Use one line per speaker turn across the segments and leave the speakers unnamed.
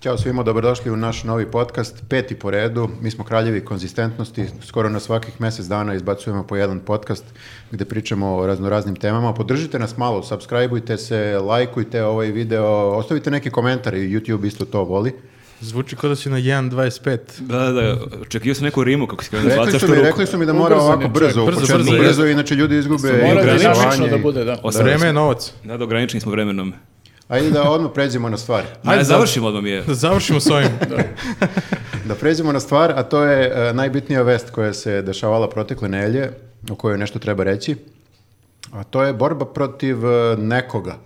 Ćao svima, dobrodošli u naš novi podcast, peti po redu. Mi smo kraljevi konzistentnosti, skoro na svakih mesec dana izbacujemo po jedan podcast gde pričamo o raznoraznim temama. Podržite nas malo, subscribeujte se, lajkujte ovaj video, ostavite neki komentar, YouTube isto to voli.
Zvuči kao da si na 1.25.
Da, da, da, očekio sam neku rimu kako si kada
Rekli
zvacaš
su
tu
mi,
ruku.
rekli su mi da mora
Ubrzan
ovako
je,
brzo,
čovjek,
u
brzo,
početku,
brzo,
brzo, inače ljudi izgube
Mora
i
dinamično
predavanje
da
i-
bude, da.
Osam-
Vreme je novac.
Da, da ograničeni smo vremenom.
Ajde da odmah pređemo na stvar.
Ajde, završimo odmah mi je.
Da završimo s ovim.
Da pređemo na stvar, a to je e, najbitnija vest koja se dešavala protekle nelje, o kojoj nešto treba reći, a to je borba protiv e, nekoga.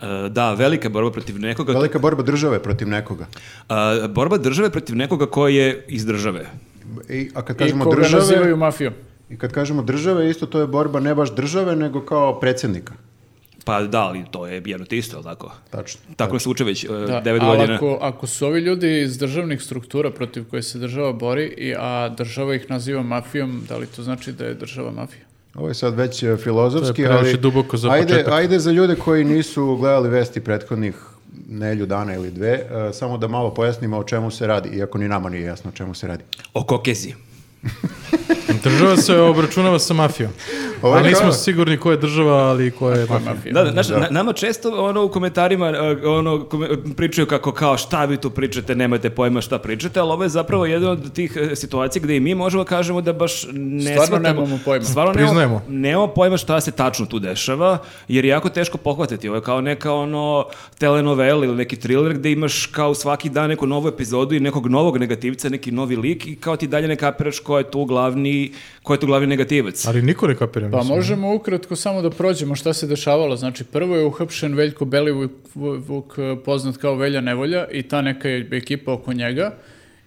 E, Da, velika borba protiv nekoga.
Velika borba države protiv nekoga.
A, borba države protiv nekoga koji je iz države.
I, a kad
I
kažemo
koga
države,
nazivaju mafijom.
i kad kažemo države, isto to je borba ne baš države, nego kao predsjednika.
Pa da, ali to je jedno te isto, jel tako?
Tačno.
Tako nas uče već e,
Da,
devet
ali
godina.
ako, ako su ovi ljudi iz državnih struktura protiv koje se država bori, i, a država ih naziva mafijom, da li to znači da je država mafija?
Ovo je sad već e, filozofski,
To je previše
ali
duboko za
ajde,
početak.
ajde za ljude koji nisu gledali vesti prethodnih nelju dana ili dve, e, samo da malo pojasnimo o čemu se radi, iako ni nama nije jasno o čemu se radi.
O kokezi.
Država se obračunava sa mafijom.
Ovo je
A nismo
kao-
sigurni ko je država, ali ko je mafija.
Pa, Mafija.
Da, da, znaš, na- nama često ono u komentarima e, ono kome- pričaju kako kao šta vi tu pričate, nemate pojma šta pričate, ali ovo je zapravo jedna od tih e, situacija gdje i mi možemo kažemo da baš ne
Stvarno
shvatamo-
nemamo pojma.
Stvarno
Priznajemo.
nemamo, nemamo pojma šta se tačno tu dešava, jer je jako teško pohvatiti. Ovo je kao neka ono telenovela ili neki thriller gdje imaš kao svaki dan neku novu epizodu i nekog novog negativca, neki novi lik i kao ti dalje ne kapiraš ko je tu glavni, ko je tu glavni negativac.
Ali niko ne kapira.
Pa
mislim.
možemo ukratko samo da prođemo šta se dešavalo. Znači, prvo je uhapšen Veljko Belivuk, Vuk, eh, poznat kao Velja Nevolja, i ta neka je ekipa oko njega.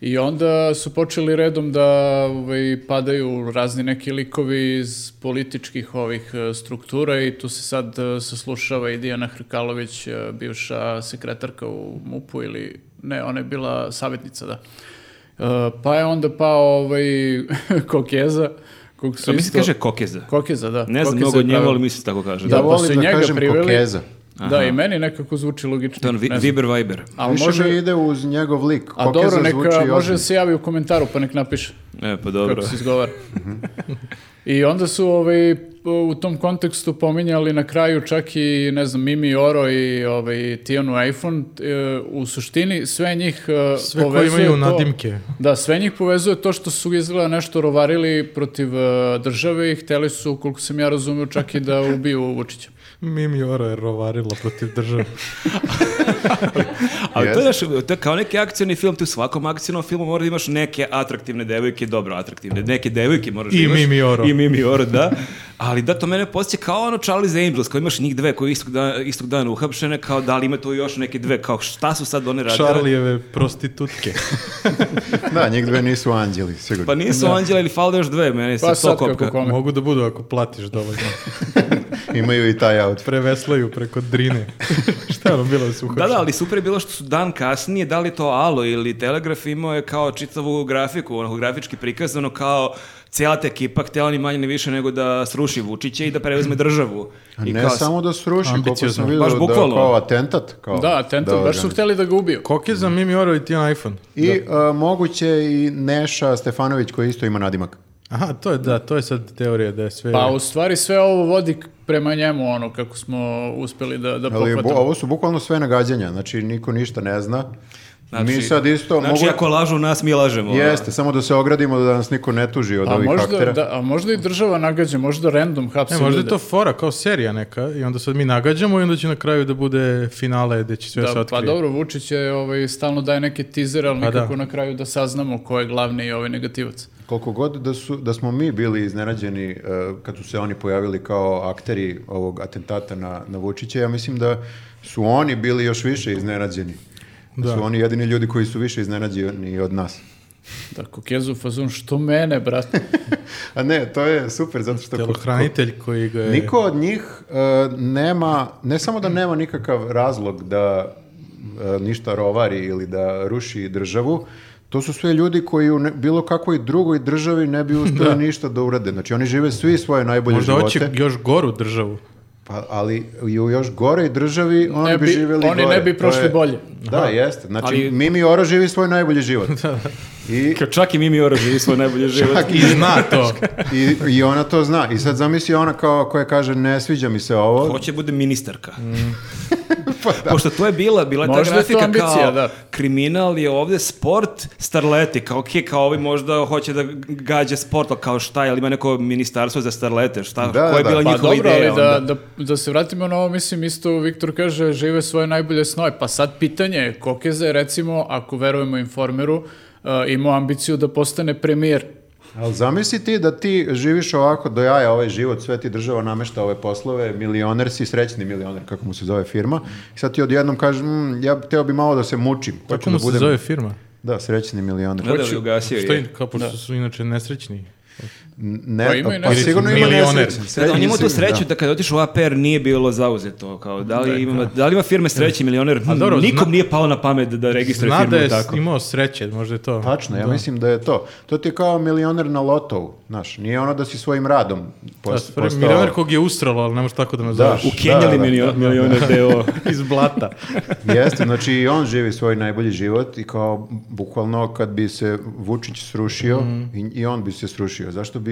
I onda su počeli redom da ovaj, padaju razni neki likovi iz političkih ovih eh, struktura i tu se sad eh, saslušava i Dijana Hrkalović, eh, bivša sekretarka u MUP-u ili ne, ona je bila savjetnica, da. Eh, pa je onda pao ovaj Kokeza, kog su
To mi se
isto-
Pa kaže kokeza.
Kokeza, da.
Ne znam
Kokeza
mnogo o
je
njemu,
pravi.
ali mi se tako kaže.
Da,
Ja
pa su i
volim da
njega
kažem
priveli.
kokeza.
Da, i meni nekako zvuči
To je
logično.
on
ne
vi-
znam.
Viber Viber.
Ali
Više
može...
mi ide uz njegov lik.
A
Kokeza
dobro, neka,
zvuči
može
ozbiljno.
da se javi u komentaru, pa nek napiše
E, pa dobro.
kako se izgovara. I onda su ovaj, u tom kontekstu pominjali na kraju čak i, ne znam, Mimi Oro i ovaj, Tijanu iPhone. E, U suštini sve njih e,
Sve koji
povezuje
imaju
to-
nadimke.
Da, sve njih povezuje to što su izgleda nešto rovarili protiv e, države i hteli su, koliko sam ja razumio, čak i da ubiju Vučića.
Mimi Ora je rovarila protiv države.
Ali to je,
Jeste.
naš, to je kao neki akcioni film, ti u svakom akcionom filmu moraš da imaš neke atraktivne devojke, dobro atraktivne, neke devojke moraš da
I
imaš.
Mimi Oro.
I Mimi Oro, da. Ali da, to mene podsjeća kao ono Charlie's Angels, kao imaš njih dve koji istog, dan, istog dana uhapšene, kao da li ima tu još neke dve, kao šta su sad one radile?
Charlijeve prostitutke.
Da, njih dve nisu anđeli, sigurno.
Pa nisu Anđela ili fali još dve, mene se
Pa
to
sad
kopka.
kako kome.
Mogu da budu ako platiš dovoljno.
Imaju i taj outfit.
Preveslaju preko drine. Šta je ono bilo da se
Da,
uhapšaju?
da, ali super je bilo što su dan kasnije, da li to Alo ili Telegraf imao je kao čitavu grafiku, onako grafički prikazano kao cijela ta ekipa htjela ni manje ni više nego da sruši Vučića i da preuzme državu.
A
I
ne
kao-
samo da sruši, koliko
Ambiciozno.
sam vidio
Baš
da
bukvalno.
kao atentat. Kao,
Da, atentat, baš su
organi-
hteli da ga ubiju.
Kokeza, Mimi Ora i Tijan iPhone.
I a, moguće i Neša Stefanović koji isto ima nadimak.
Aha, to je, da, to je sad teorija da je sve...
Pa u stvari sve ovo vodi k- prema njemu, ono, kako smo uspeli da, da
Ali bu-
pohvatamo.
ovo su bukvalno sve nagađanja, znači niko ništa ne zna.
Znači-
Mi sad isto
Znači,
mogu...
ako lažu nas, mi lažemo.
Jeste, samo da se ogradimo da nas niko ne tuži od
A
ovih
možda,
aktera.
da, a možda i država nagađa, možda random hapsi
E, možda je
ljude.
to fora, kao serija neka, i onda sad mi nagađamo i onda će na kraju da bude finale gde će sve se
Da,
otkrije.
pa dobro, Vučić je ovaj, stalno daje neke teaser, ali
Pa da.
nikako na kraju da saznamo ko je glavni ovaj negativac.
Koliko god da, su, da smo mi bili iznenađeni e, kad su se oni pojavili kao akteri ovog atentata na, na Vučića, ja mislim da su oni bili još više iznenađeni. Da.
Da.
su oni jedini ljudi koji su više iznenađeni od nas.
Da, kokezu fazon, što mene, brate?
A ne, to je super, zato što...
Telohranitelj koji ga je...
Niko od njih e, nema, ne samo da nema nikakav razlog da e, ništa rovari ili da ruši državu, to su sve ljudi koji u ne- bilo kakvoj drugoj državi ne bi uspjeli ništa da urade. Znači oni žive svi svoje najbolje
Možda
živote.
hoće još goru državu.
Pa, ali i u još goroj državi oni
Ne
bi,
bi-
živjeli
oni
gore.
ne bi
To
prošli
je-
bolje.
Da, jeste. Znači,
Ali-
Mimi Oro živi svoj najbolji život. I,
Kao čak i Mimi Oro živi svoj najbolji život.
I zna to.
i, I ona to zna. I sad zamisli ona kao koja kaže ne sviđa mi se ovo.
Hoće bude ministarka. Pošto to je bila, bila je ta
Mm. Pa Možda je to
grafika kao
ambicija, da.
kriminal je ovdje sport, starleti, kao ok, kao ovi možda hoće da gađe sport, ali kao šta, jel ima neko ministarstvo za starlete, šta,
Da,
koja je
da,
bila
da.
Pa
njihova
dobro,
ideja
ali da,
onda?
da, da se vratimo na ovo, mislim, isto Viktor kaže, žive svoje najbolje snove. Pa sad pitanje je, Kokeza je, recimo, ako verujemo informeru, uh, imao ambiciju da postane premijer.
Ali zamisli ti da ti živiš ovako do jaja ovaj život, sve ti država namešta ove poslove, milioner si, srećni milioner, kako mu se zove firma. I sad ti odjednom kažeš, "Mm, ja teo bi malo da se mučim. Hoću
Kako mu
da
se
budem-
zove firma?
Da, srećni milioner.
Da, da, ugasio
Što
je.
im, kao pošto su inače nesrećni.
Ne,
Pa ima i
pa,
nesrećni.
sigurno ima
Milioner.
nesrećni.
Da, da, on ima tu
sigurno, da.
sreću da, kad je otišao u APR nije bilo zauzeto, kao da li, ima, da li ima firme sreći milioner,
A dobro,
nikom
zna-
nije palo na pamet da, da registruje
Zna
firmu
da je
tako.
imao sreće, možda je to.
Tačno, ja mislim da je to. To ti je kao milioner na lotovu, znaš. Nije ono da si svojim radom
Da,
post,
stvarno,
postao-
milioner kog je ustralo, ali ne možeš tako da me
Da,
zoveš.
U Kenjali
Da, da,
milio- milioner deo.
Iz blata.
Jeste, znači i on živi svoj najbolji život i kao bukvalno kad bi se Vučić srušio i, i on bi se srušio. Zašto bi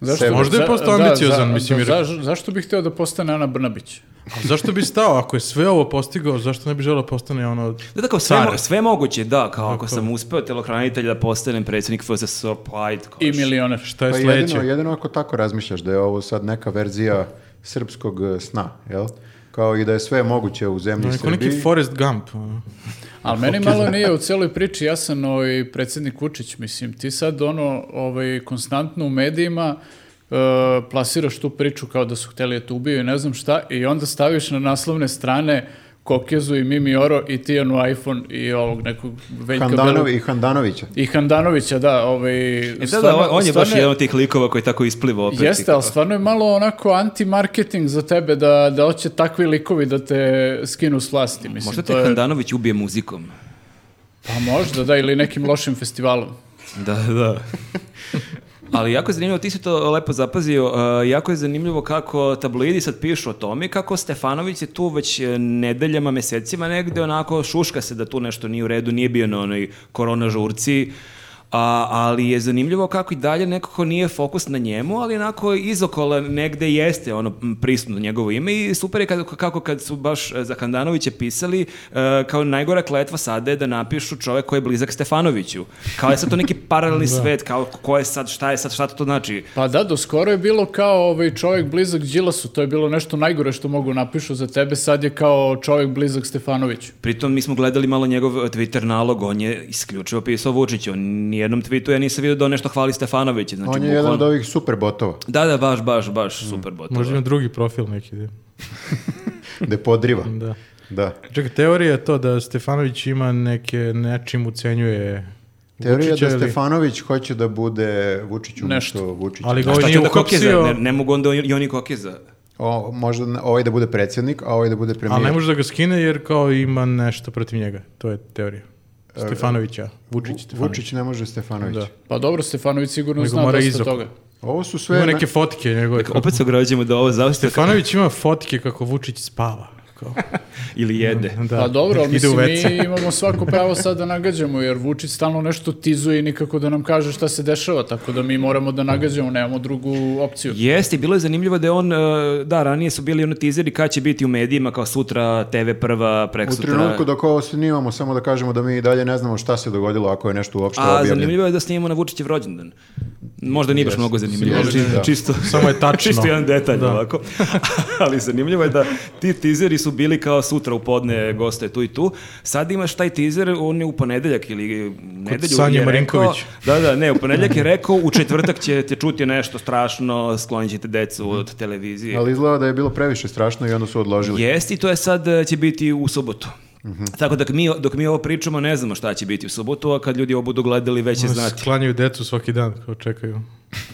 Zašto?
sebe-
Mhm. Možda je
Za-
postao
da,
ambiciozan,
za-
mislim,
da,
jer-
zaš- zašto bih htio da postane Ana Brnabić?
A zašto bi stao? Ako je sve ovo postigao, zašto ne bi želeo postane ono...
Da, da, kao sve,
Care.
mo- sve moguće, da, kao ako sam uspeo telohranitelj da postanem predsjednik FSS, pa ajde, kao
I
šta.
milioner.
Šta je
Pa
sledeće?
jedino, jedino ako tako razmišljaš da je ovo sad neka verzija srpskog eh, sna, jel? Kao i da je sve moguće u zemlji
Neko
Srbiji.
Ono neki Forrest Gump. ono.
Ali meni malo nije u celoj priči jasan ovaj predsjednik Vučić, mislim, ti sad ono, ovaj, konstantno u medijima e, plasiraš tu priču kao da su hteli da te ubiju i ne znam šta i onda staviš na naslovne strane Kokezu i Mimi Oro i Tijanu iPhone i ovog nekog Veljka
Handanovi-
Belog-
I Handanovića.
I Handanovića, da, ovaj...
E, da, da,
stvarno-
on- on je baš
stvarno
jedan od tih likova koji tako ispliva opet.
Jeste, ali stvarno je malo onako anti-marketing za tebe da, da hoće takvi likovi da te skinu s vlasti. Mislim,
Možda
to
te
je-
Handanović ubije muzikom.
Pa možda, da, ili nekim lošim festivalom.
Da, da. Ali jako je zanimljivo, ti si to lepo zapazio, uh, jako je zanimljivo kako tabloidi sad pišu o tome, i kako Stefanović je tu već e, nedeljama, mesecima negde onako šuška se da tu nešto nije u redu, nije bio na onoj korona žurci, a, ali je zanimljivo kako i dalje nekako nije fokus na njemu, ali onako izokola negde jeste ono m, prisutno njegovo ime i super je kako, kako kad su baš e, za Handanovića pisali e, kao najgora kletva sada je da napišu čovek koji je blizak Stefanoviću. Kao je sad to neki paralelni svet, kao ko je sad, šta je sad, šta to znači.
Pa da, do skoro je bilo kao ovaj čovjek blizak Đilasu, to je bilo nešto najgore što mogu napišu za tebe, sad je kao čovjek blizak Stefanoviću.
Pritom mi smo gledali malo njegov e, Twitter nalog, on je isključivo pisao Vučiću. On Nijednom tweetu ja nisam vidio da on nešto hvali Stefanovića. Znači,
On je jedan od
bukvalno-
ovih Mm. super botova,
Da, da, baš, baš, baš, super botova.
Možda ima drugi profil neki. da.
da podriva.
Da.
Da.
Čekaj, teorija je to da Stefanović ima neke, nečim ucenjuje
Teorija
Vučića
da
ili-
Stefanović hoće da bude Vučić umjesto
Nešto.
Vučića.
Ali ga
A
ovaj
šta će
nije
onda Kokeza? Ne,
uhapsio,
ne mogu onda i oni Kokeza.
O, možda ne- ovaj da bude predsjednik, a ovaj da bude premijer.
ali ne može da ga skine jer kao ima nešto protiv njega. To je teorija. Stefanovića. Vučić
Vučić,
Stefanović.
ne može Stefanović.
Da.
Pa dobro, Stefanović sigurno
Nego
zna
mora
dosta
izoko.
toga.
Ovo su sve...
Ima
na-
neke fotke njegove. kako-
Opet se ograđujemo da ovo zavisno
Stefanović ima fotke kako Vučić spava. Kao,
ili jede.
da,
Pa dobro, ali
ide u WC.
mislim, mi imamo svako pravo sad da nagađamo, jer Vučić stalno nešto tizuje i nikako da nam kaže šta se dešava, tako da mi moramo da nagađamo, nemamo drugu opciju.
Jeste, i bilo je zanimljivo da je on, e, da, ranije su bili ono tizeri kad će biti u medijima, kao sutra, TV prva,
U
preksutra.
trenutku dok ovo snimamo, samo da kažemo da mi i dalje ne znamo šta se dogodilo ako je nešto uopšte
A
objavljeno.
zanimljivo je da snimamo na Vučićev rođendan. Možda nije baš mnogo zanimljivo,
Jeste,
či-
da.
čisto,
Samo je tačno.
čisto jedan detalj
Da.
ovako. Ali zanimljivo je da ti tizeri su bili kao sutra u podne goste tu i tu. Sad imaš taj tizer, on je u ponedeljak ili u nedelju je
Sanje
rekao-
Marinković.
Da, da, ne, u ponedeljak je rekao, u četvrtak ćete čuti nešto strašno, sklonit ćete decu od televizije.
Ali izgleda da je bilo previše strašno i onda su odložili.
Jeste i to je sad e, će biti u subotu. Tako da mi, dok mi ovo pričamo ne znamo šta će biti u subotu, a kad ljudi ovo budu gledali već će znati.
Sklanjaju decu svaki dan, kao čekaju.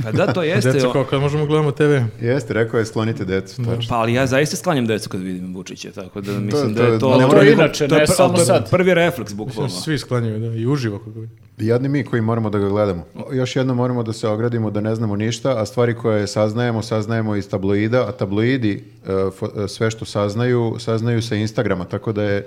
Pa da, to jeste.
Deco,
o-
kao kad možemo gledamo TV.
Jeste, rekao je sklonite decu, tačno.
Pa ali ja zaista sklanjam decu kad vidim Vučića, tako da mislim
to
da
je-
je to... ono
ne
To
mora
je
niko-
inače,
to je
ne
pr-
samo
to je
sad.
Prvi refleks, bukvalno.
Svi sklanjaju, da, i uživo kako vidim.
Jadni mi koji moramo da ga gledamo. Još jednom moramo da se ogradimo da ne znamo ništa, a stvari koje saznajemo, saznajemo iz tabloida, a tabloidi e, fo- e, sve što saznaju, saznaju sa Instagrama, tako da je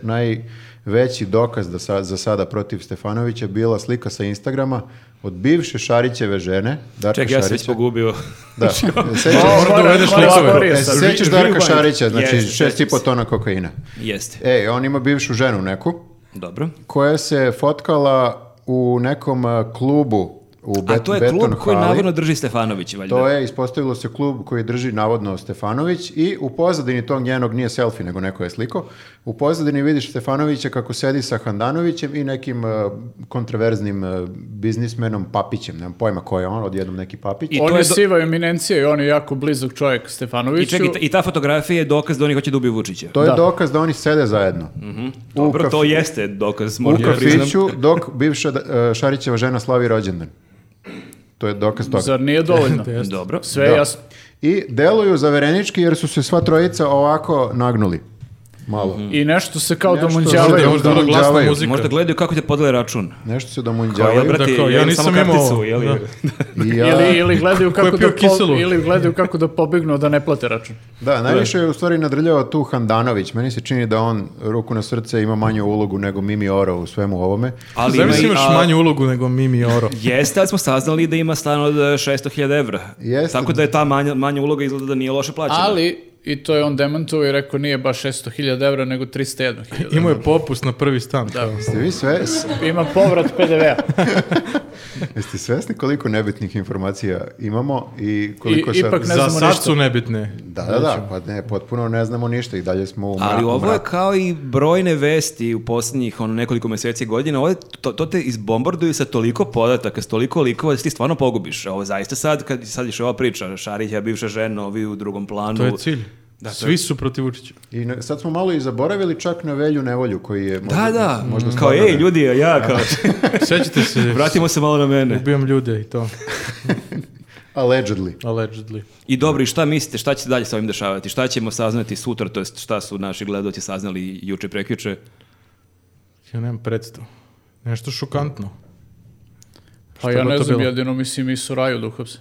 najveći dokaz da sa- za sada protiv Stefanovića bila slika sa Instagrama od bivše Šarićeve žene, Darka
Ček, ja sam već
Šarića.
pogubio.
Da.
Malo
Sećaš,
Moram da uvedeš
malo
likove.
sporije
e,
sad.
sećaš Darka
rewind.
Šarića, znači
Jeste,
šest i
sećam
po
se.
tona kokaina.
Jeste.
E, on ima bivšu ženu neku,
Dobro.
koja se fotkala u nekom a, klubu u Bet,
A to je
Beton
klub koji
hali.
navodno drži Stefanović, valjda.
To je, ispostavilo se klub koji drži navodno Stefanović i u pozadini tog njenog, nije selfie, nego neko je sliko, u pozadini vidiš Stefanovića kako sedi sa Handanovićem i nekim e, kontroverznim e, biznismenom Papićem, nemam pojma ko je on, odjednom neki Papić.
I- to
on
je
je
do-
siva eminencija i on je jako blizak čovjek
I,
Stefanoviću.
čekaj, i ta- i ta fotografija je dokaz da oni hoće da ubiju Vučića.
To je
da.
dokaz da oni sede zajedno. U
Dobro, to
kafi-
jeste dokaz.
U
moram da priznam.
kafiću dok bivša e, Šarićeva žena slavi rođendan. To je dokaz toga.
Zar nije dovoljno?
Dobro.
Sve
Da.
je jasno.
I deluju zaverenički jer su se sva trojica ovako nagnuli. Malo.
I nešto se kao
Nešto
domunđavaju.
žele.
Možda ono glasna
domunđavaju.
muzika.
Možda gledaju kako te podele račun.
Nešto se
Kao, jel,
domunđavaju.
brate,
Da, kao, ja
imam
nisam
samo
imao
karticu,
ovo.
jel?
Da.
I ja-
Ili, ili, gledaju
Ko je
kako da
pio
po-
kiselu?
ili gledaju kako da pobegnu da ne plate račun.
Da, najviše je u stvari nadrljao tu Handanović. Meni se čini da on, ruku na srce, ima manju ulogu nego Mimi Oro u svemu ovome.
Ali ima
Zamislim
i-
imaš
a-
manju ulogu nego Mimi Oro.
Jeste, ali smo saznali da ima stan od e, 600.000 evra.
Jeste.
Tako da je ta manja, manja uloga izgleda da nije loše plaćena.
Ali, i to je on demantovao i rekao nije baš 600.000 evra, nego 301.000.
Imao je popust na prvi stan. kao.
Jeste vi sve, s-
Ima povrat PDV-a.
jeste svesni koliko nebitnih informacija imamo i koliko
I- ipak Ne
Za
znamo
sad
ništa.
su nebitne.
Da, da, da, pa ne, potpuno ne znamo ništa i dalje smo u mra-
Ali
u
ovo je
mraku.
kao i brojne vesti u posljednjih ono, nekoliko mjeseci i godina. Ovo je- to, to te izbombarduju sa toliko podataka, s toliko likova da se ti stvarno pogubiš. Ovo zaista sad, kad sad je ova priča, Šarića, bivša žena, ovi u drugom planu.
To je cilj.
Da, to
Svi su protiv Vučića.
I ne- sad smo malo i zaboravili čak na Velju Nevolju koji je...
Da, da,
možda
kao
stvarno
ej
ne-
ljudi, ja kao,
Sećate se,
vratimo se malo na mene.
ubijam ljude i to,
Allegedly.
allegedly.
I dobro, i šta mislite, šta će se dalje sa ovim dešavati? Šta ćemo saznati sutra, to jest šta su naši gledaoci saznali juče prekjuče?
Ja nemam predstavu. Nešto šokantno.
Pa
Šta
ja
god
ne
to
znam,
bilo.
jedino mislim i Suraju da uhapse.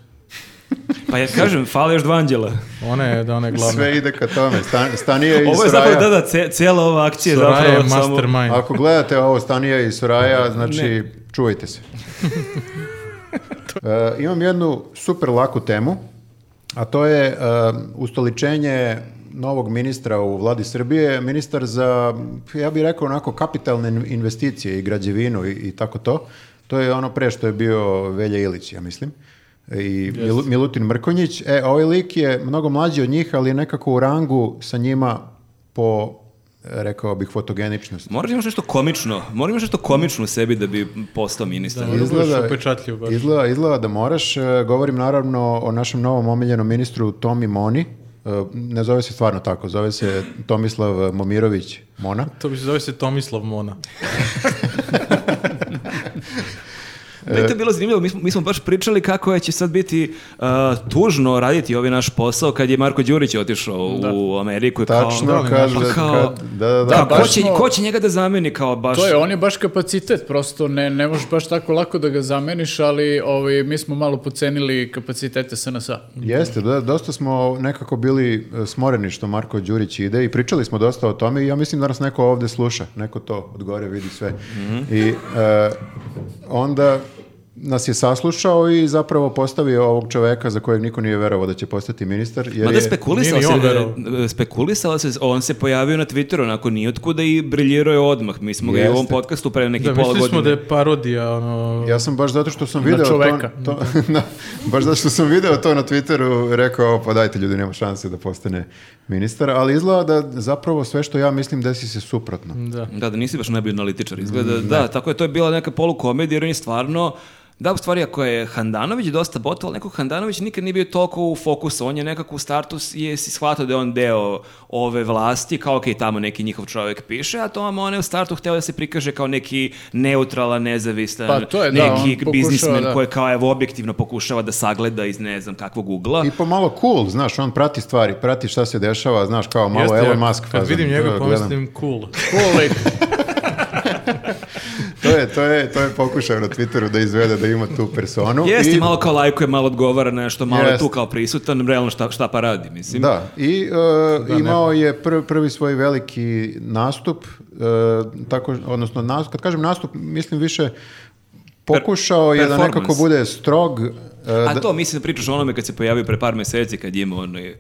Pa ja kažem, fale još dva anđela.
Ona je, da ona je glavna.
Sve ide ka tome. Stan, Stanija i
Ovo je
Soraja.
zapravo, da, da, ce- cijela ova akcija je
Soraya
zapravo
je
samo-
mastermind.
Ako gledate ovo Stanija i Soraja, znači čuvajte se. E, imam jednu super laku temu, a to je e, ustoličenje novog ministra u vladi Srbije, ministar za, ja bih rekao onako, kapitalne investicije i građevinu i, i tako to. To je ono pre što je bio Velja Ilić, ja mislim i Milu- Milutin Mrkonjić. E, ovaj lik je mnogo mlađi od njih, ali je nekako u rangu sa njima po, e, rekao bih, fotogeničnosti.
Moraš da imaš nešto komično, moraš da imaš nešto komično u sebi da bi postao ministar.
Da. Moraš da budeš upečatljiv baš.
Izgleda, izgleda da moraš. E, Govorim naravno o našem novom omiljenom ministru Tomi Moni. E, Ne zove se stvarno tako, zove se Tomislav Momirović Mona.
To bi se zove se Tomislav Mona.
Da je to bilo zanimljivo, mi smo, mi smo baš pričali kako je će sad biti uh, tužno raditi ovaj naš posao kad je Marko Đurić otišao u Ameriku. i kao-
Tačno,
da, ali
kaže,
pa kao-
kad- da, da, da.
Da,
baš
ko, će,
smo-
ko će njega da zameni kao baš...
To je, on je baš kapacitet, prosto ne, ne možeš baš tako lako da ga zameniš, ali ovaj, mi smo malo pocenili kapacitete SNS-a.
Jeste, da, dosta smo nekako bili e, smoreni što Marko Đurić ide i pričali smo dosta o tome i ja mislim da nas neko ovde sluša, neko to od gore vidi sve. I e, onda nas je saslušao i zapravo postavio ovog čoveka za kojeg niko nije verovao da će postati ministar. Jer
Mada
je,
spekulisao
nije ni on
se,
verovao.
e, spekulisao se, on se pojavio na Twitteru onako nijotkuda i briljirao je odmah. Mi smo ga i u ovom
Jeste.
podcastu pre nekih
Da,
pola
mislili
godine.
smo da je parodija, ono...
Ja sam baš zato što sam video
čoveka.
to, to na- baš zato što sam video to na Twitteru rekao pa dajte ljudi nema šanse da postane ministar, ali izgleda da zapravo sve što ja mislim desi se suprotno.
Da.
Mm,
Da, da nisi baš najbolji analitičar izgleda. da, tako je, to je bila neka polukomedija jer on je stvarno Da, u stvari, ako je Handanović dosta botao, ali nekog Handanović nikad nije bio toliko u fokusu. On je nekako u startu s- je si shvatio da je on deo ove vlasti, kao ok, tamo neki njihov čovjek piše, a to vam on je u startu hteo da se prikaže kao neki neutralan, nezavistan,
Pa to je, da, on
neki
pokušava,
biznismen
da.
koji kao evo objektivno pokušava da sagleda iz ne znam kakvog ugla.
I po malo cool, znaš, on prati stvari, prati šta se dešava, znaš, kao malo
Jeste,
Elon
ja
Musk
Kad
fazon,
vidim
to
njega,
gledam.
pomislim cool.
Cool lik.
To je, to je, to je pokušao na Twitteru da izvede da ima tu personu.
Jeste,
I-
malo kao lajkuje, malo odgovara nešto, malo je
Jeste.
tu kao prisutan, realno šta, šta pa radi, mislim.
Da, i e, imao je pr- prvi svoj veliki nastup, e, tako, odnosno, nas- kad kažem nastup, mislim više pokušao je da
performance.
nekako bude strog, e,
A
da-
to mislim da pričaš o onome kad se pojavio pre par meseci kad je imao onaj...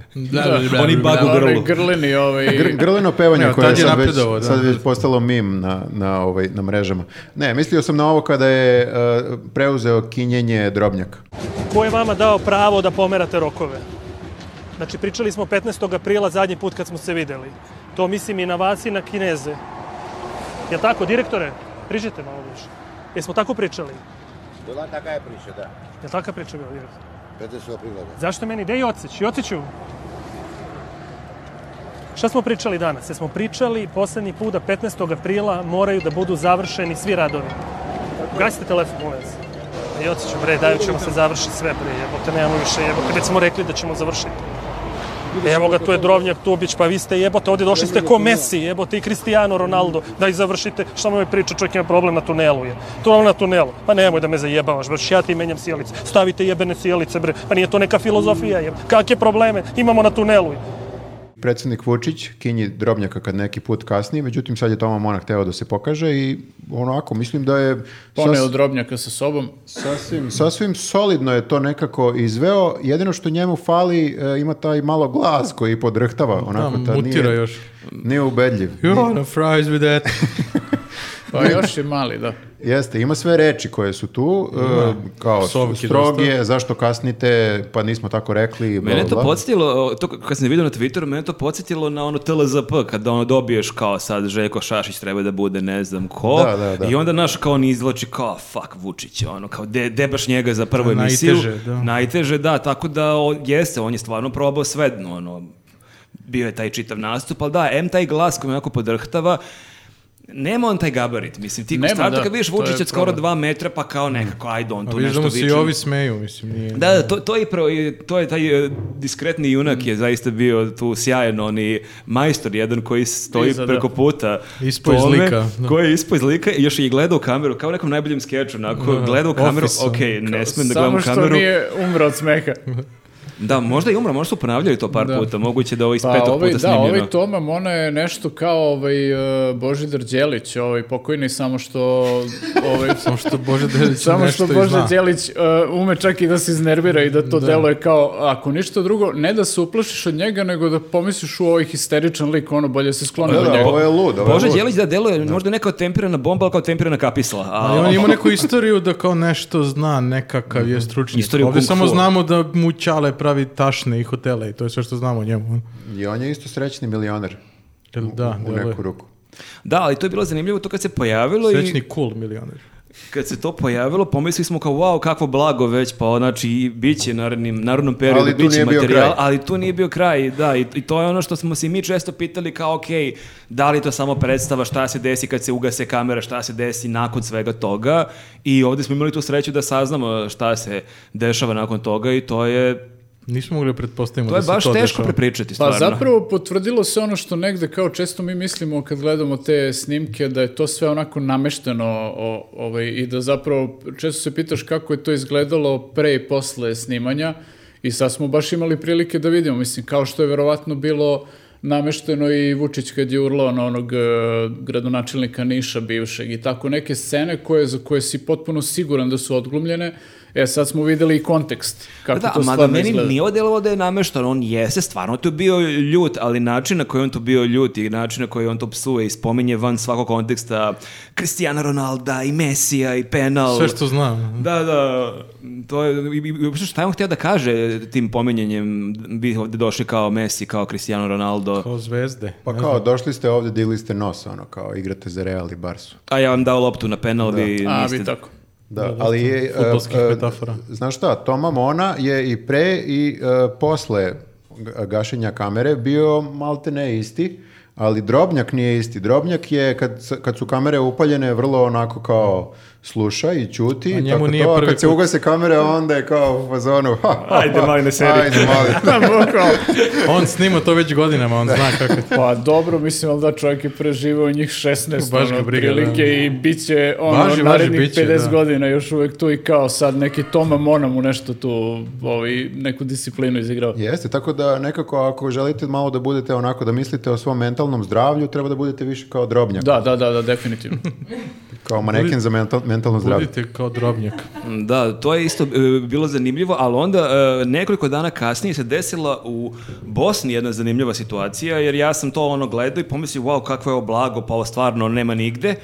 Oni
bug u grlu.
Onaj grleni ovaj...
Gr- grleno pevanje
Evo,
koje je
tad je
sad već,
napredovao, da.
sad već postalo mim na, na, ovaj, na mrežama. Ne, mislio sam na ovo kada je e, preuzeo kinjenje drobnjaka.
Ko je vama dao pravo da pomerate rokove? Znači, pričali smo 15. aprila zadnji put kad smo se videli. To mislim i na vas i na Kineze. Jel tako, direktore? Priđite malo više. Jesmo tako pričali?
Bila taka je priča, da.
Jel taka priča bila, direktore?
15. aprila, da.
Zašto meni? Gde je Jocić? Jociću? Šta smo pričali danas? Jesmo pričali poslednji put da 15. aprila moraju da budu završeni svi radovi. Gasite telefon, molim vas. Pa Jociću, bre, daju ćemo se završi sve, bre, jebote, nemamo više, jebote, već smo rekli da ćemo završiti. Evo ga, tu je Drovnjak, Tubić, pa vi ste jebote, ovdje došli ste ko Messi, jebote, i Cristiano Ronaldo, da ih završite, šta mu je priča, čovjek ima problem na tunelu, je. To je ono na tunelu, pa nemoj da me zajebavaš, baš ja ti menjam sjelice, stavite jebene sjelice, bre, pa nije to neka filozofija, jeb. kakve probleme imamo na tunelu, je.
Predsjednik Vučić kinji drobnjaka kad neki put kasni, međutim sad je Toma Monak teo da se pokaže i onako, mislim da je
Poneo
Pa
sas-
drobnjaka sa sobom.
sasvim, sasvim solidno je to nekako izveo. Jedino što njemu fali, e, ima taj malo glas koji podrhtava. Onako, ta
mutira
nije,
još.
Nije ubedljiv.
You're on a fries with that.
Pa još je mali, da.
Jeste, ima sve reči koje su tu, e, kao
Psovki
strog
dosta.
je, zašto kasnite, pa nismo tako rekli, bla,
Mene je
bla,
to
bla.
podsjetilo, o, to k- kad sam je vidio na Twitteru, mene je to podsjetilo na ono TLZP, kada ono dobiješ kao sad Željko Šašić treba da bude ne znam ko,
Da, da, da.
i onda naš kao on izvlači kao fuck Vučić, ono kao de, de baš njega za prvu
Najteže,
emisiju.
da.
Najteže, da, tako da o, jeste, on je stvarno probao sve, no, ono, bio je taj čitav nastup, ali da, M taj glas koji me onako podrhtava, Nema on taj gabarit, mislim, ti u
Nema,
startu
da,
kad vidiš
to je
Vučića od skoro
problem.
dva metra, pa kao nekako, ajde on
A
tu
vidiš da
nešto
mu se i
viče.
ovi smeju, mislim. Nije.
Da, da, to, to, je, pro- i to je taj e, diskretni junak je zaista bio tu sjajan, on i majstor jedan koji stoji
Iza, da.
preko puta.
Ispao iz
tome,
lika, da.
Koji je ispao iz lika i još je i gledao u kameru, kao u nekom najboljem skeču, onako, gleda u kameru,
Office-a.
ok, ne smem da
ono, Samo
gledam
što
kameru.
nije umro od smeha.
Da, možda i umra, možda su ponavljali to par
Da.
puta, moguće da ovo iz
Pa
petog
ovaj,
puta
da,
snimljeno.
ovaj Toma Mona je nešto kao ovaj e, Božidar Đelić, ovaj pokojni, samo što... Ovaj,
Samo što Bože Delić
Samo
nešto
što
i zna.
Božidar Đelić e, ume čak i da se iznervira i da to deluje kao, ako ništa drugo, ne da se uplašiš od njega, nego da pomisliš u ovaj histeričan lik, ono bolje se skloni
Da,
od
da,
pa
njega.
E, ovo je lud. ovo je
Bože
lud.
Đelić da deluje, možda ne kao temperana bomba, ali kao temperana kapisla. A, Mhm.
Ali on ima neku istoriju da kao nešto zna, nekakav je stručnjak.
Istoriju
Ovdje
kung
samo
fu.
znamo da mu Ćale pravi tašne i hotele i to je sve što znamo o njemu.
I on je isto srećni milioner
Jel Da,
u
deluje.
neku ruku.
Da, ali to je bilo zanimljivo, to kad se pojavilo i...
Srećni cool milioner.
Kad se to pojavilo, pomislili smo kao, wow, kakvo blago već, pa znači, i bit će narednim, narodnom periodu,
Ali
ali
tu
bit će
nije bio
materijal,
kraj.
ali tu nije bio kraj, da, i, i to je ono što smo se i mi često pitali kao, ok, da li je to samo predstava, šta se desi kad se ugase kamera, šta se desi nakon svega toga, i ovdje smo imali tu sreću da saznamo šta se dešava nakon toga i to je,
Nismo mogli da pretpostavimo
to je
da se to
baš teško
dešava.
prepričati,
Pa
stvarno.
zapravo potvrdilo se ono što negde kao često mi mislimo kad gledamo te snimke da je to sve onako namešteno o- ovaj, i da zapravo često se pitaš kako je to izgledalo pre i posle snimanja i sad smo baš imali prilike da vidimo, mislim kao što je verovatno bilo namešteno i Vučić kad je urlao na onog e, gradonačelnika Niša bivšeg i tako neke scene koje, za koje si potpuno siguran da su odglumljene, e sad smo videli i kontekst kako
Da,
to
mada
stvarno
meni
izgleda.
nije odjelovao da je nameštan, on jeste stvarno tu bio ljut, ali način na koji on tu bio ljut i način na koji on to psuje i spominje van svakog konteksta Cristiano Ronalda i Mesija i penal.
Sve što znam.
Da, da, to je, i, i- i uopšte šta je on htio da kaže tim pominjanjem, vi ovdje došli kao Messi, kao Cristiano Ronaldo,
Kao zvezde.
Pa
ne
kao, došli ste ovdje, digli ste nos, ono, kao, igrate za Real i Barsu.
a ja vam dao loptu na penal, vi
A,
niste-
vi tako.
Da, ali je... e,
fudbalskih
e,
metafora.
Znaš šta, Toma Mona je i pre i e, posle ga- gašenja kamere bio malte ne isti, ali Drobnjak nije isti. Drobnjak je, kad, s- kad su kamere upaljene, vrlo onako kao sluša i ćuti.
A
i
njemu
tako
nije
to, a
prvi
Kad se
put.
ugase kamere, onda je kao u fazonu. ha, ha,
Ajde,
ha,
mali, ne seri.
Ajde, mali.
On snima to već godinama, on zna kako je.
Pa dobro, mislim, ali da čovjek je preživao njih 16
Baš ga
ono,
briga,
prilike
da.
i bit će ono,
Važi, važi,
narednih
bit će,
50
da.
godina još uvek tu i kao sad neki Toma Mona mu nešto tu, ovaj, neku disciplinu izigrao.
Jeste, tako da nekako ako želite malo da budete onako, da mislite o svom mentalnom zdravlju, treba da budete više kao drobnjak,
Da, da, da, da, definitivno.
kao maneken za mental- mentalno zdravlje.
Budite kao drobnjak.
Da, to je isto e, bilo zanimljivo, ali onda e, nekoliko dana kasnije se desila u Bosni jedna zanimljiva situacija, jer ja sam to ono gledao i pomislio, wow, kakvo je ovo blago, pa ovo stvarno nema nigde.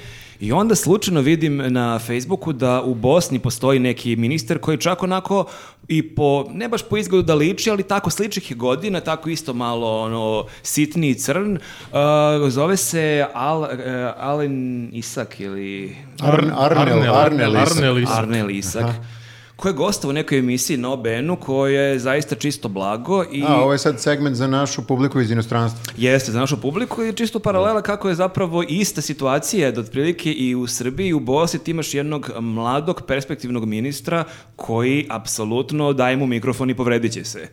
I onda slučajno vidim na Facebooku da u Bosni postoji neki ministar koji čak onako i po, ne baš po izgledu da liči, ali tako sličnih je godina, tako isto malo ono sitni i crn. E, zove se Al, e, Alen Isak ili
Arn- Arnel, Arnel Isak.
Arnel Isak.
Arne Lisak, koji je gostao u nekoj emisiji na OBN-u koja je zaista čisto blago i
A, ovo je sad segment za našu publiku iz inostranstva.
jeste za našu publiku i čisto paralela kako je zapravo ista situacija da otprilike i u Srbiji i u Bosni ti imaš jednog mladog perspektivnog ministra koji apsolutno daje mu mikrofon i povredit će se.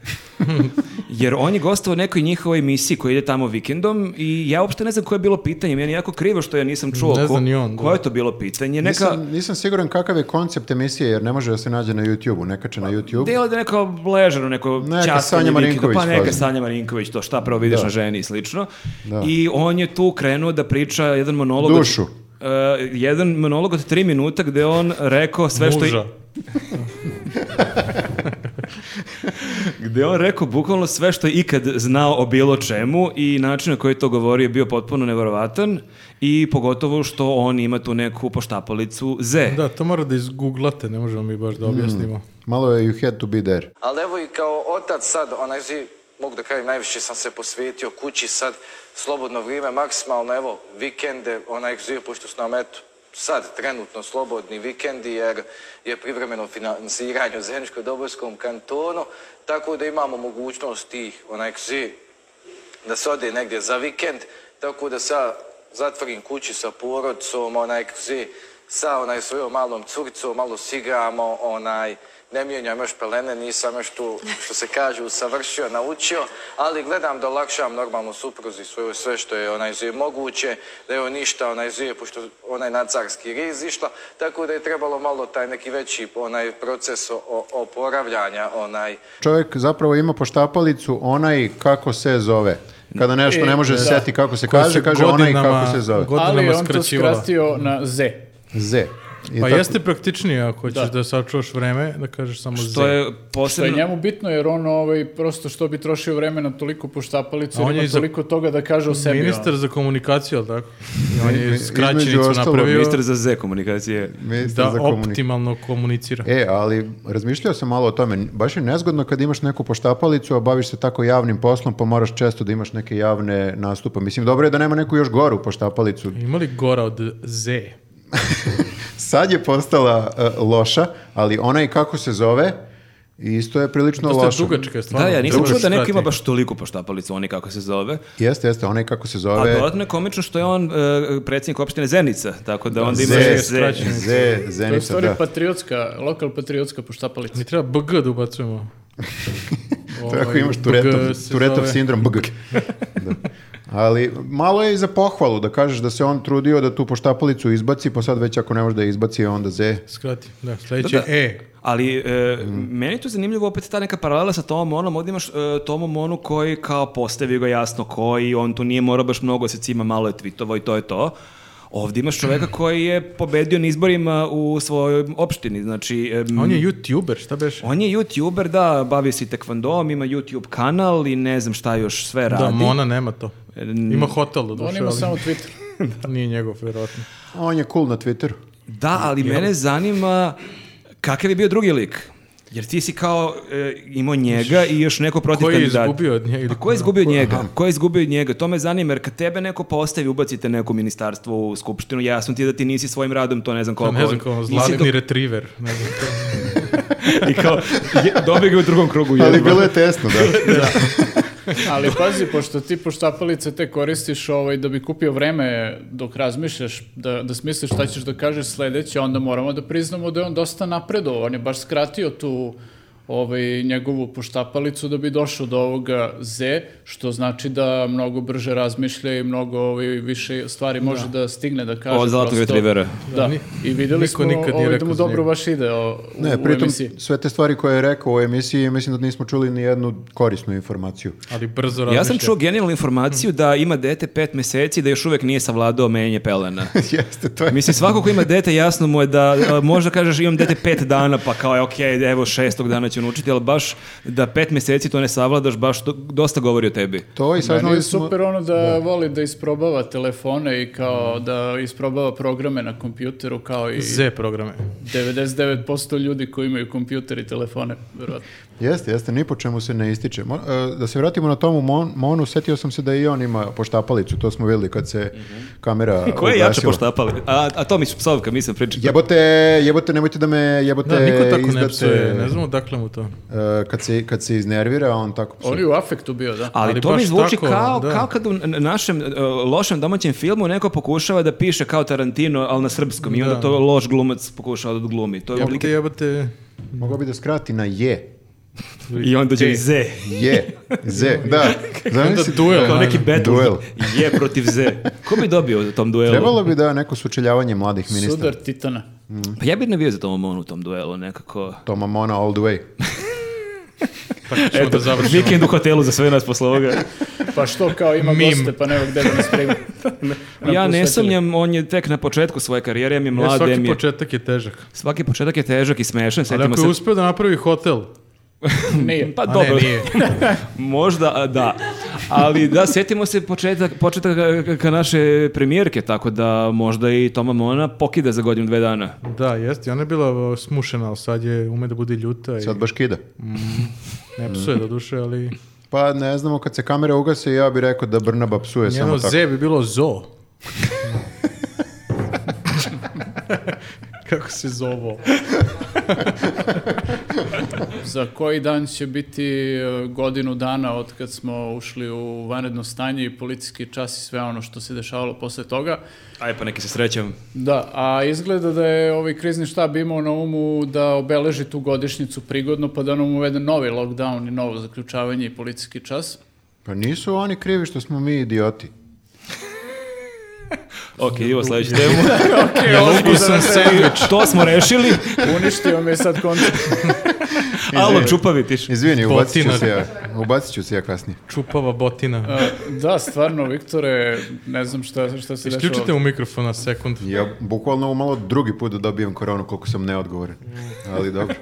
Jer on je gostao u nekoj njihovoj emisiji koja ide tamo vikendom i ja uopšte ne znam koje je bilo pitanje. Meni je jako krivo što ja nisam čuo
Ne
ko-
zna ni on, da.
koje je to bilo pitanje. Neka...
Nisam, nisam siguran kakav je koncept emisije, jer ne može da se nađe na YouTube-u. Neka će na YouTube.
Delo da neko ležano, neko
Neka
ćaskanje
Sanja
vikenda,
Marinković,
pa neka
kažem.
Sanja Marinković, to šta prvo vidiš
Da.
na ženi i slično.
Da.
I on je tu krenuo da priča jedan monolog... od-
Dušu.
E, jedan monolog od tri minuta gde on rekao sve što...
Muža.
Gde on rekao bukvalno sve što je ikad znao o bilo čemu i način na koji je to govorio je bio potpuno neverovatan i pogotovo što on ima tu neku poštapalicu Z.
Da, to mora da izguglate, ne možemo mi
Mm.
baš da objasnimo.
Malo je You Had To Be There.
Ali evo i kao otac sad, onaj zi, mogu da kažem, najviše sam se posvetio kući sad, slobodno vrijeme, maksimalno, evo, vikende, onaj zi, pošto su nam, eto, sad trenutno slobodni vikendi, jer je privremeno financiranje u Zeničko-Dobojskom kantonu, tako da imamo mogućnost tih, onaj zi, da se ode negdje za vikend, tako da se ja zatvorim kući sa porodcom, onaj, kzi, sa onaj svojom malom curicom, malo sigramo, onaj, ne mijenjam još pelene, nisam još tu, što se kaže, usavršio, naučio, ali gledam da olakšam normalno supruzi svoju sve što je onaj zije moguće, da je on ništa onaj zije, pošto onaj na carski riz išla, tako da je trebalo malo taj neki veći onaj proces o- o- oporavljanja, onaj,
Čovjek zapravo ima poštapalicu onaj kako se zove. Kada nešto ne može da se seti kako se
Koja
kaže,
E, se
kaže onaj
godinama-
kako se zove.
Godinama
Ali je on to
skraćivala.
skratio na Z.
Z. I
Pa
tako-
jeste praktičnije ako hoćeš da, sačuvaš vreme, da kažeš samo Z.
To je
To je
posebno...
njemu bitno jer on ovaj, prosto što bi trošio vremena toliko
A
poštapalicu,
on
on
je
ima
i za-
toliko toga da kaže o sebi. ono.
Ministar za komunikaciju, ali tako? I on je
Između
skraćenicu
ostalog,
napravio
Ministar za Z komunikacije.
Ministar
da
za komunik-
optimalno komunicira.
E, ali razmišljao sam malo o tome. Baš je nezgodno kad imaš neku poštapalicu, a baviš se tako javnim poslom, pa moraš često da imaš neke javne nastupe. Mislim, dobro je da nema neku još goru poštapalicu.
Ima li gora od Z?
Sad je postala e, loša, ali ona i kako se zove, isto je prilično
To
loša.
ste dugačka, stvarno.
Da, ja nisam
Drugo
čuo da neko
skrati.
ima baš toliko poštapalicu, oni kako se zove.
Jeste, jeste, ona i kako se
A
zove.
dodatno je komično što je on e, predsjednik opštine Zenica, tako da onda
Z-
ima
je
Z.
skraćen.
Z,
To je u
Zenica,
stvari
da.
patriotska, lokal patriotska poštapalica.
Mi treba BG da ubacujemo.
Tako
Ovaj,
imaš
BG
Turetov,
se
Turetov
zove.
sindrom, bg. Da. Ali malo je i za pohvalu da kažeš da se on trudio da tu poštapalicu izbaci, pa sad već ako ne može da je izbaci, onda Z.
Skrati, da, sledeće je
Da, da.
E.
Ali e, meni je tu zanimljivo opet ta neka paralela sa Tomom Monom, ovdje imaš e, Tomu Monu koji kao postavi ga jasno koji, on tu nije morao baš mnogo se cima, malo je tweetovao i to je to. Ovdje imaš čoveka koji je pobedio na izborima u svojoj opštini, znači... em,
A On je youtuber, šta beš?
on je youtuber, da, bavi se i tekvandom, ima YouTube kanal i ne znam šta još sve radi.
Da, Mona nema to.
N-
Ima hotel do
On
duše,
ima
ali
samo Twitter.
nije njegov, vjerojatno.
On je cool na Twitteru.
Da, ali mene zanima kakav je bio drugi lik. Jer ti si kao e, imao njega i još neko protiv
Koji je
kandidata.
izgubio od nje? ili
Pa ko je
ko-
izgubio
ko-
njega?
Aha.
Ko je izgubio njega? To me zanima, jer kad tebe neko postavi, ubacite neko ministarstvo u skupštinu, jasno ti je da ti nisi svojim radom, to ne znam
Pa
koliko.
ne znam, kao
nisi
zlatni
do-
retriever. Ne znam, to-
I kao, je, dobio ga u drugom krugu.
Ali
jebote.
bilo je tesno, da.
Ali pazi, pošto ti poštapalice te koristiš ovaj, da bi kupio vreme dok razmišljaš, da, da smisliš šta ćeš da kažeš sledeće, onda moramo da priznamo da je on dosta napredo. On je baš skratio tu ovaj, njegovu poštapalicu da bi došao do ovoga Z, što znači da mnogo brže razmišlja i mnogo ovaj, više stvari može da, stigne da kaže.
Od zlatnog
prosto.
retrivera.
Da,
ni-
i videli
niko
smo
nikad nije
ovaj, da
rekao
mu
za
dobro
njega.
baš ide o,
Ne,
u, u
pritom
emisiji.
sve te stvari koje je rekao u emisiji, mislim da nismo čuli ni jednu korisnu informaciju.
Ali brzo razmišlja.
Ja sam čuo genijalnu informaciju da ima dete pet meseci da još uvek nije savladao menje pelena.
Jeste, to je.
Mislim, svako ko ima dete, jasno mu je da a, možda kažeš imam dete pet dana, pa kao je okej, evo šestog dana ću naučiti, ali baš da pet meseci to ne savladaš, baš to, dosta govori o tebi.
To i
Meni je
saznali smo...
super ono da, voli da isprobava telefone i kao da isprobava programe na kompjuteru kao i
Z programe.
99% ljudi koji imaju kompjuter i telefone, verovatno.
Jeste, jeste, ni po čemu se ne ističe. Mo- e, da se vratimo na tomu mon, Monu, setio sam se da i on ima poštapalicu, to smo videli kad se kamera
Ko je jače
ugasila.
poštapali? A, a to mi su psovka, mislim pričati.
Jebote, jebote, nemojte da me jebote
Da, niko tako
izdate.
ne psuje, ne znam odakle mu to.
E, kad, se, kad se iznervira, on tako psuje.
On je u afektu bio, da.
Ali,
Ali
to mi
baš
zvuči
tako,
kao,
da.
kao kad u n- našem e, lošem domaćem filmu neko pokušava da piše kao Tarantino, ali na srpskom i onda
Da.
to loš glumac pokušava da glumi. To je
Jebote,
oblike...
jebote.
Mogao bi da skrati na je.
I onda dođe i Z.
Je. Z. Da. Zamisli-
duel,
Kao neki battle.
Duel.
Je protiv Z. Ko bi dobio u tom duelu?
Trebalo bi da neko sučeljavanje mladih ministara.
Sudar Titana.
Pa ja bi ne bio za Toma Monu u tom duelu nekako.
Toma Mona all the way.
Tako ćemo da završimo.
Vikend u hotelu za sve nas posle ovoga.
Pa što kao ima
Mim.
goste, pa nema gde da nas primi.
ja ne
Napustili.
sumnjam, on je tek na početku svoje karijere, mi je
Ja,
mlad, em
E, svaki
je-
početak je težak.
Svaki početak je težak i smešan,
Ali
setimo
ako
se.
je uspio da napravi hotel,
Nije.
Pa
a
dobro,
ne, nije.
možda a, da. Ali da, setimo se početak, početak ka, ka naše premijerke, tako da možda i Toma Mona pokida za godinu, dve dana.
Da, jeste. i Ona je bila o, smušena, ali sad je ume da bude ljuta i
Sad Mm. baš kida.
ne psuje do duše, ali
Pa ne znamo, kad se kamere ugase, ja bih rekao da Brnaba psuje
njeno
samo tako.
Z bi bilo zo. Kako se zovo?
Za koji dan će biti e, godinu dana od kad smo ušli u vanredno stanje i policijski čas i sve ono što se dešavalo posle toga.
Aj pa neki se srećam.
Da, a izgleda da je ovaj krizni štab imao na umu da obeleži tu godišnjicu prigodno, pa da nam uvede novi lockdown i novo zaključavanje i policijski čas.
Pa nisu oni krivi što smo mi idioti.
Ok, idemo sledeću temu.
E, Lupio sam sandvič.
to smo rešili,
Uništio me sad koncept.
alo čupavi tiš.
Izvini, ubacit ću
Botina.
se ja. Ubacit ću se ja kasnije.
Čupava botina.
Da, stvarno, Viktore, ne znam šta, šta se dešava.
Isključite mu mikrofon na sekund.
Ja bukvalno malo drugi put da dobijem koronu koliko sam neodgovoren. Ali dobro.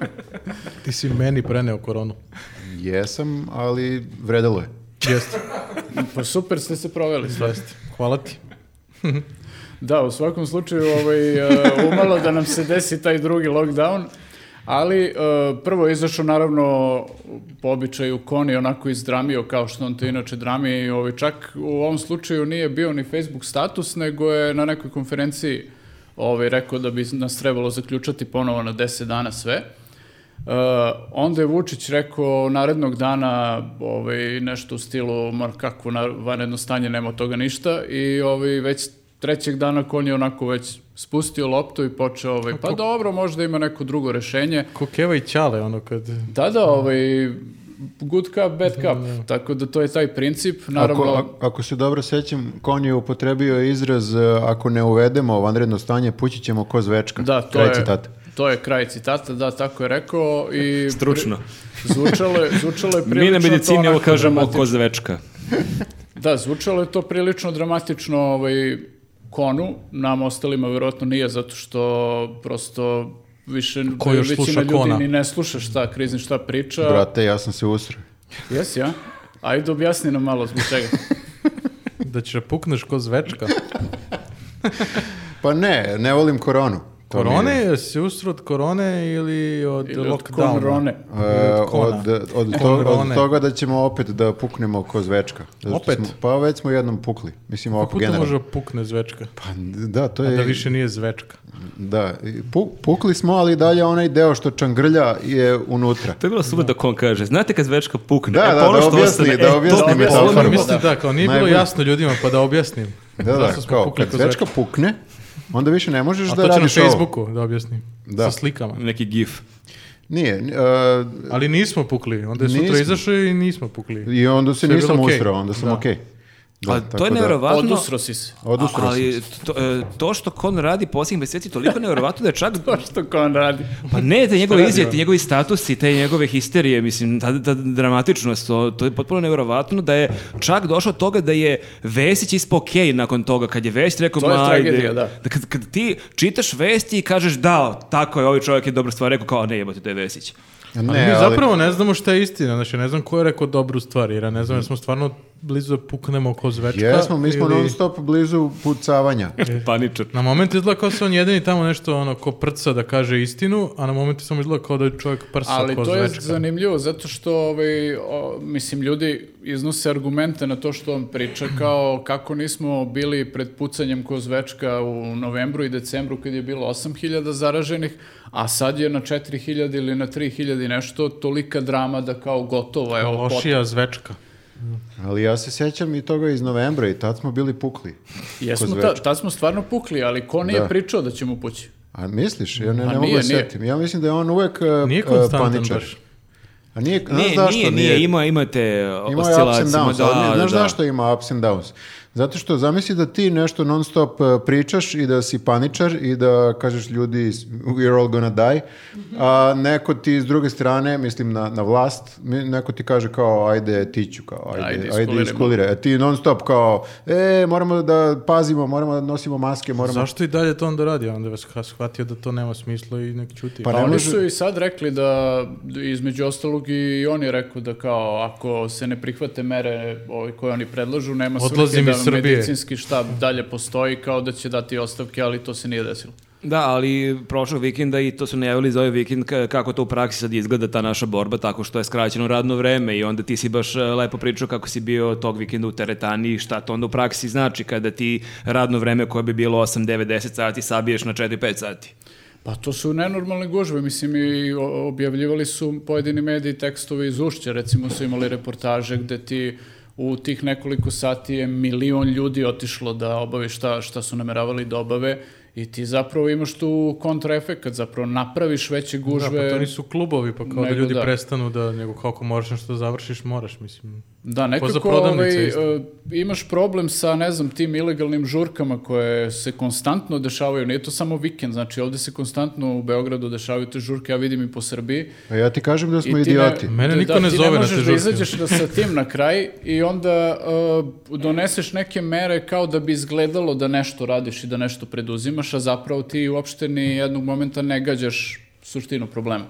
Ti si meni preneo koronu.
Jesam, ali vredelo je.
Jeste,
Pa super ste se proveli.
jeste. Hvala ti.
Da, u svakom slučaju ovaj, e, umalo da nam se desi taj drugi lockdown, ali e, prvo je izašao naravno po običaju Koni onako izdramio kao što on to inače drami i ovaj, čak u ovom slučaju nije bio ni Facebook status nego je na nekoj konferenciji ovaj, rekao da bi nas trebalo zaključati ponovo na 10 dana sve. Uh, onda je Vučić rekao narednog dana ovaj, nešto u stilu ma kako na, vanredno stanje nema od toga ništa i ovaj, već trećeg dana kon je onako već spustio loptu i počeo ovaj, pa dobro možda ima neko drugo rešenje
Ko keva i ćale, ono kad...
da da ovaj, good cup bad cup tako da to je taj princip naravno
Ako, a- ako se dobro sećam, Kon je upotrebio izraz e, ako ne uvedemo vanredno stanje, pući ćemo ko zvečka.
da to
Kraj
je
citata.
to je kraj citata da tako je rekao i
Stručno.
pri- zvučalo je zvučalo je
Mi na
prilično to
medicini ovo
onako
kažemo
dramatično.
ko zvečka.
Da, zvučalo je to prilično dramatično ovaj, konu, nam ostalima verovatno nije, zato što prosto više
Ko još
većina
sluša
ljudi
Kona?
ni ne sluša šta krizni šta priča.
Brate, ja sam se usrao.
Jesi, a? Ajde objasni nam malo zbog čega.
Da ćeš da pukneš ko zvečka.
Pa ne, ne volim koronu. To mi je-
korone? Jel si usro od korone ili od
Ili od
lockdowna?
korone.
Ili
E,
od kona?
od, od, to, od
Korone.
toga da ćemo opet da puknemo ko zvečka. Zato što
Opet? Pa
Smo, pa već smo jednom pukli. Mislim ovako
Puta
generalno.
može pukne zvečka.
Pa da, to je...
Da više nije zvečka.
Da, i pu- pukli smo, ali dalje onaj deo što čangrlja je unutra.
To je bilo super da on kaže. Znate kad zvečka pukne?
Da,
e,
da,
pa ono
da
što
objasni,
ostane,
da
e, to
objasni
mi je
metaforu.
Ali
ono-
Prvo.
mislim da, kao nije bilo
Najbolje.
jasno ljudima pa da objasnim.
Da, da,
Zašto smo
kao
pukli
kad
ko
zvečka
zvečka.
pukne, onda više ne možeš da
A to ću na
radiš ovo.
Facebooku da objasnim.
Da.
Sa slikama.
Neki gif.
Nije, n- e,
Ali nismo pukli. Onda je
Nismo.
sutra izašao i nismo pukli.
i onda se
Sve je
nisam
bilo okej.
usrao, onda sam
Da.
okej. Da,
A
tako
to
da-
je nevjerovatno.
Odusro si se.
Odusro
A-
sam se.
ali to, e, to što Kon radi posljednjih mjeseci je toliko nevjerovatno da je čak
To što Kon radi.
Pa ne, te njegove izjave, te njegovi statusi, te njegove histerije, mislim, ta, ta dramatičnost, to, to je potpuno nevjerovatno da je čak došlo do toga da je Vesić ispao okej nakon toga, kad je Vesić rekao,
To je
"Ma, ajde."
tragedija, da.
kad, kad ti čitaš vesti i kažeš, da, tako je, ovaj čovjek je dobra stvar, rekao kao, ne jebote, to je Vesić.
Ali
Ne,
mi
ali-
zapravo ne znamo šta je istina. Znači, ne znam ko je rekao dobru stvar, jer ja ne znam, jer smo stvarno blizu da puknemo ko zvečka.
Mhm. Jesmo, mi smo
ili-
non stop blizu pucavanja.
Pa
Paničar.
Na moment izgleda kao se on jedini tamo nešto ono ko prca da kaže istinu, a na moment samo izgleda kao da je čovjek prsa
Ali
ko
to je
zvečka.
zanimljivo zato što ovaj, o, mislim, ljudi iznose argumente na to što on priča kao kako nismo bili pred pucanjem kozvečka u novembru i decembru kad je bilo 8000 zaraženih, a sad je na 4000 ili na 3000 i nešto tolika drama da kao gotovo je ovo pot-
Lošija zvečka.
Ali ja se sjećam i toga iz novembra i tad smo bili pukli.
Jesmo, ta,
Kozvečka.
tad smo stvarno pukli, ali ko nije
Da.
pričao da ćemo pući?
A misliš? Ja ne,
A
ne mogu
nije,
da
nije.
sjetim. Ja mislim da je on uvek e,
Nije
e,
konstantan
paničar.
baš.
A nije, znaš
Nije,
zašto?
nije, nije, ima, imate
Ima je ups and downs,
da,
ali ne-
da,
znaš
da.
zašto ima ups and downs? Zato što zamisli da ti nešto non stop e, pričaš i da si paničar i da kažeš ljudi we're all gonna die, a neko ti s druge strane, mislim na, na vlast, mi- neko ti kaže kao ajde tiću, kao ajde,
Ajde,
ajde,
iskulirajmo.
iskuliraj. A ti non stop kao e, moramo da pazimo, moramo da nosimo maske, moramo...
Pa Zašto i dalje to onda radi? Onda je vas shvatio da to nema smisla i nek čuti.
Pa
Pa
ne
oni
može-
su i sad rekli da, između ostalog i on je rekao da kao ako se ne prihvate mere ove koje oni predlažu, nema svrhe
Odlazim
da
iz Srbije.
medicinski štab dalje postoji kao da će dati ostavke, ali to se nije desilo.
Da, ali prošlog vikenda i to su najavili za ovaj vikend ka- kako to u praksi sad izgleda ta naša borba tako što je skraćeno radno vreme i onda ti si baš e, lepo pričao kako si bio tog vikenda u teretani i šta to onda u praksi znači kada ti radno vreme koje bi bilo 8, 9, 10 sati sabiješ na 4, 5 sati.
Pa to su nenormalne gužve, mislim i o- objavljivali su pojedini mediji tekstove iz Ušća, recimo su imali reportaže gde ti u tih nekoliko sati je milion ljudi otišlo da obavi šta, šta su nameravali da obave i ti zapravo imaš tu kontraefekat, zapravo napraviš veće
Da,
gužve.
pa to nisu klubovi, pa kao da
Nego
ljudi
da.
prestanu da, nego kako moraš nešto da završiš, moraš, mislim.
Da,
za
nekako
prodavnice
ovaj,
isto.
e, imaš problem sa, ne znam, tim ilegalnim žurkama koje se konstantno dešavaju. Nije to samo vikend, znači ovdje se konstantno u Beogradu dešavaju te žurke, ja vidim i po Srbiji.
Pa ja ti kažem da smo
I ti ne-
idioti.
Mene niko ne
ti
zove na
možeš
te
da
žurke.
izađeš da sa tim na kraj i onda e, doneseš neke mere kao da bi izgledalo da nešto radiš i da nešto preduzimaš, a zapravo ti uopšte ni jednog momenta ne gađaš suštinu problema.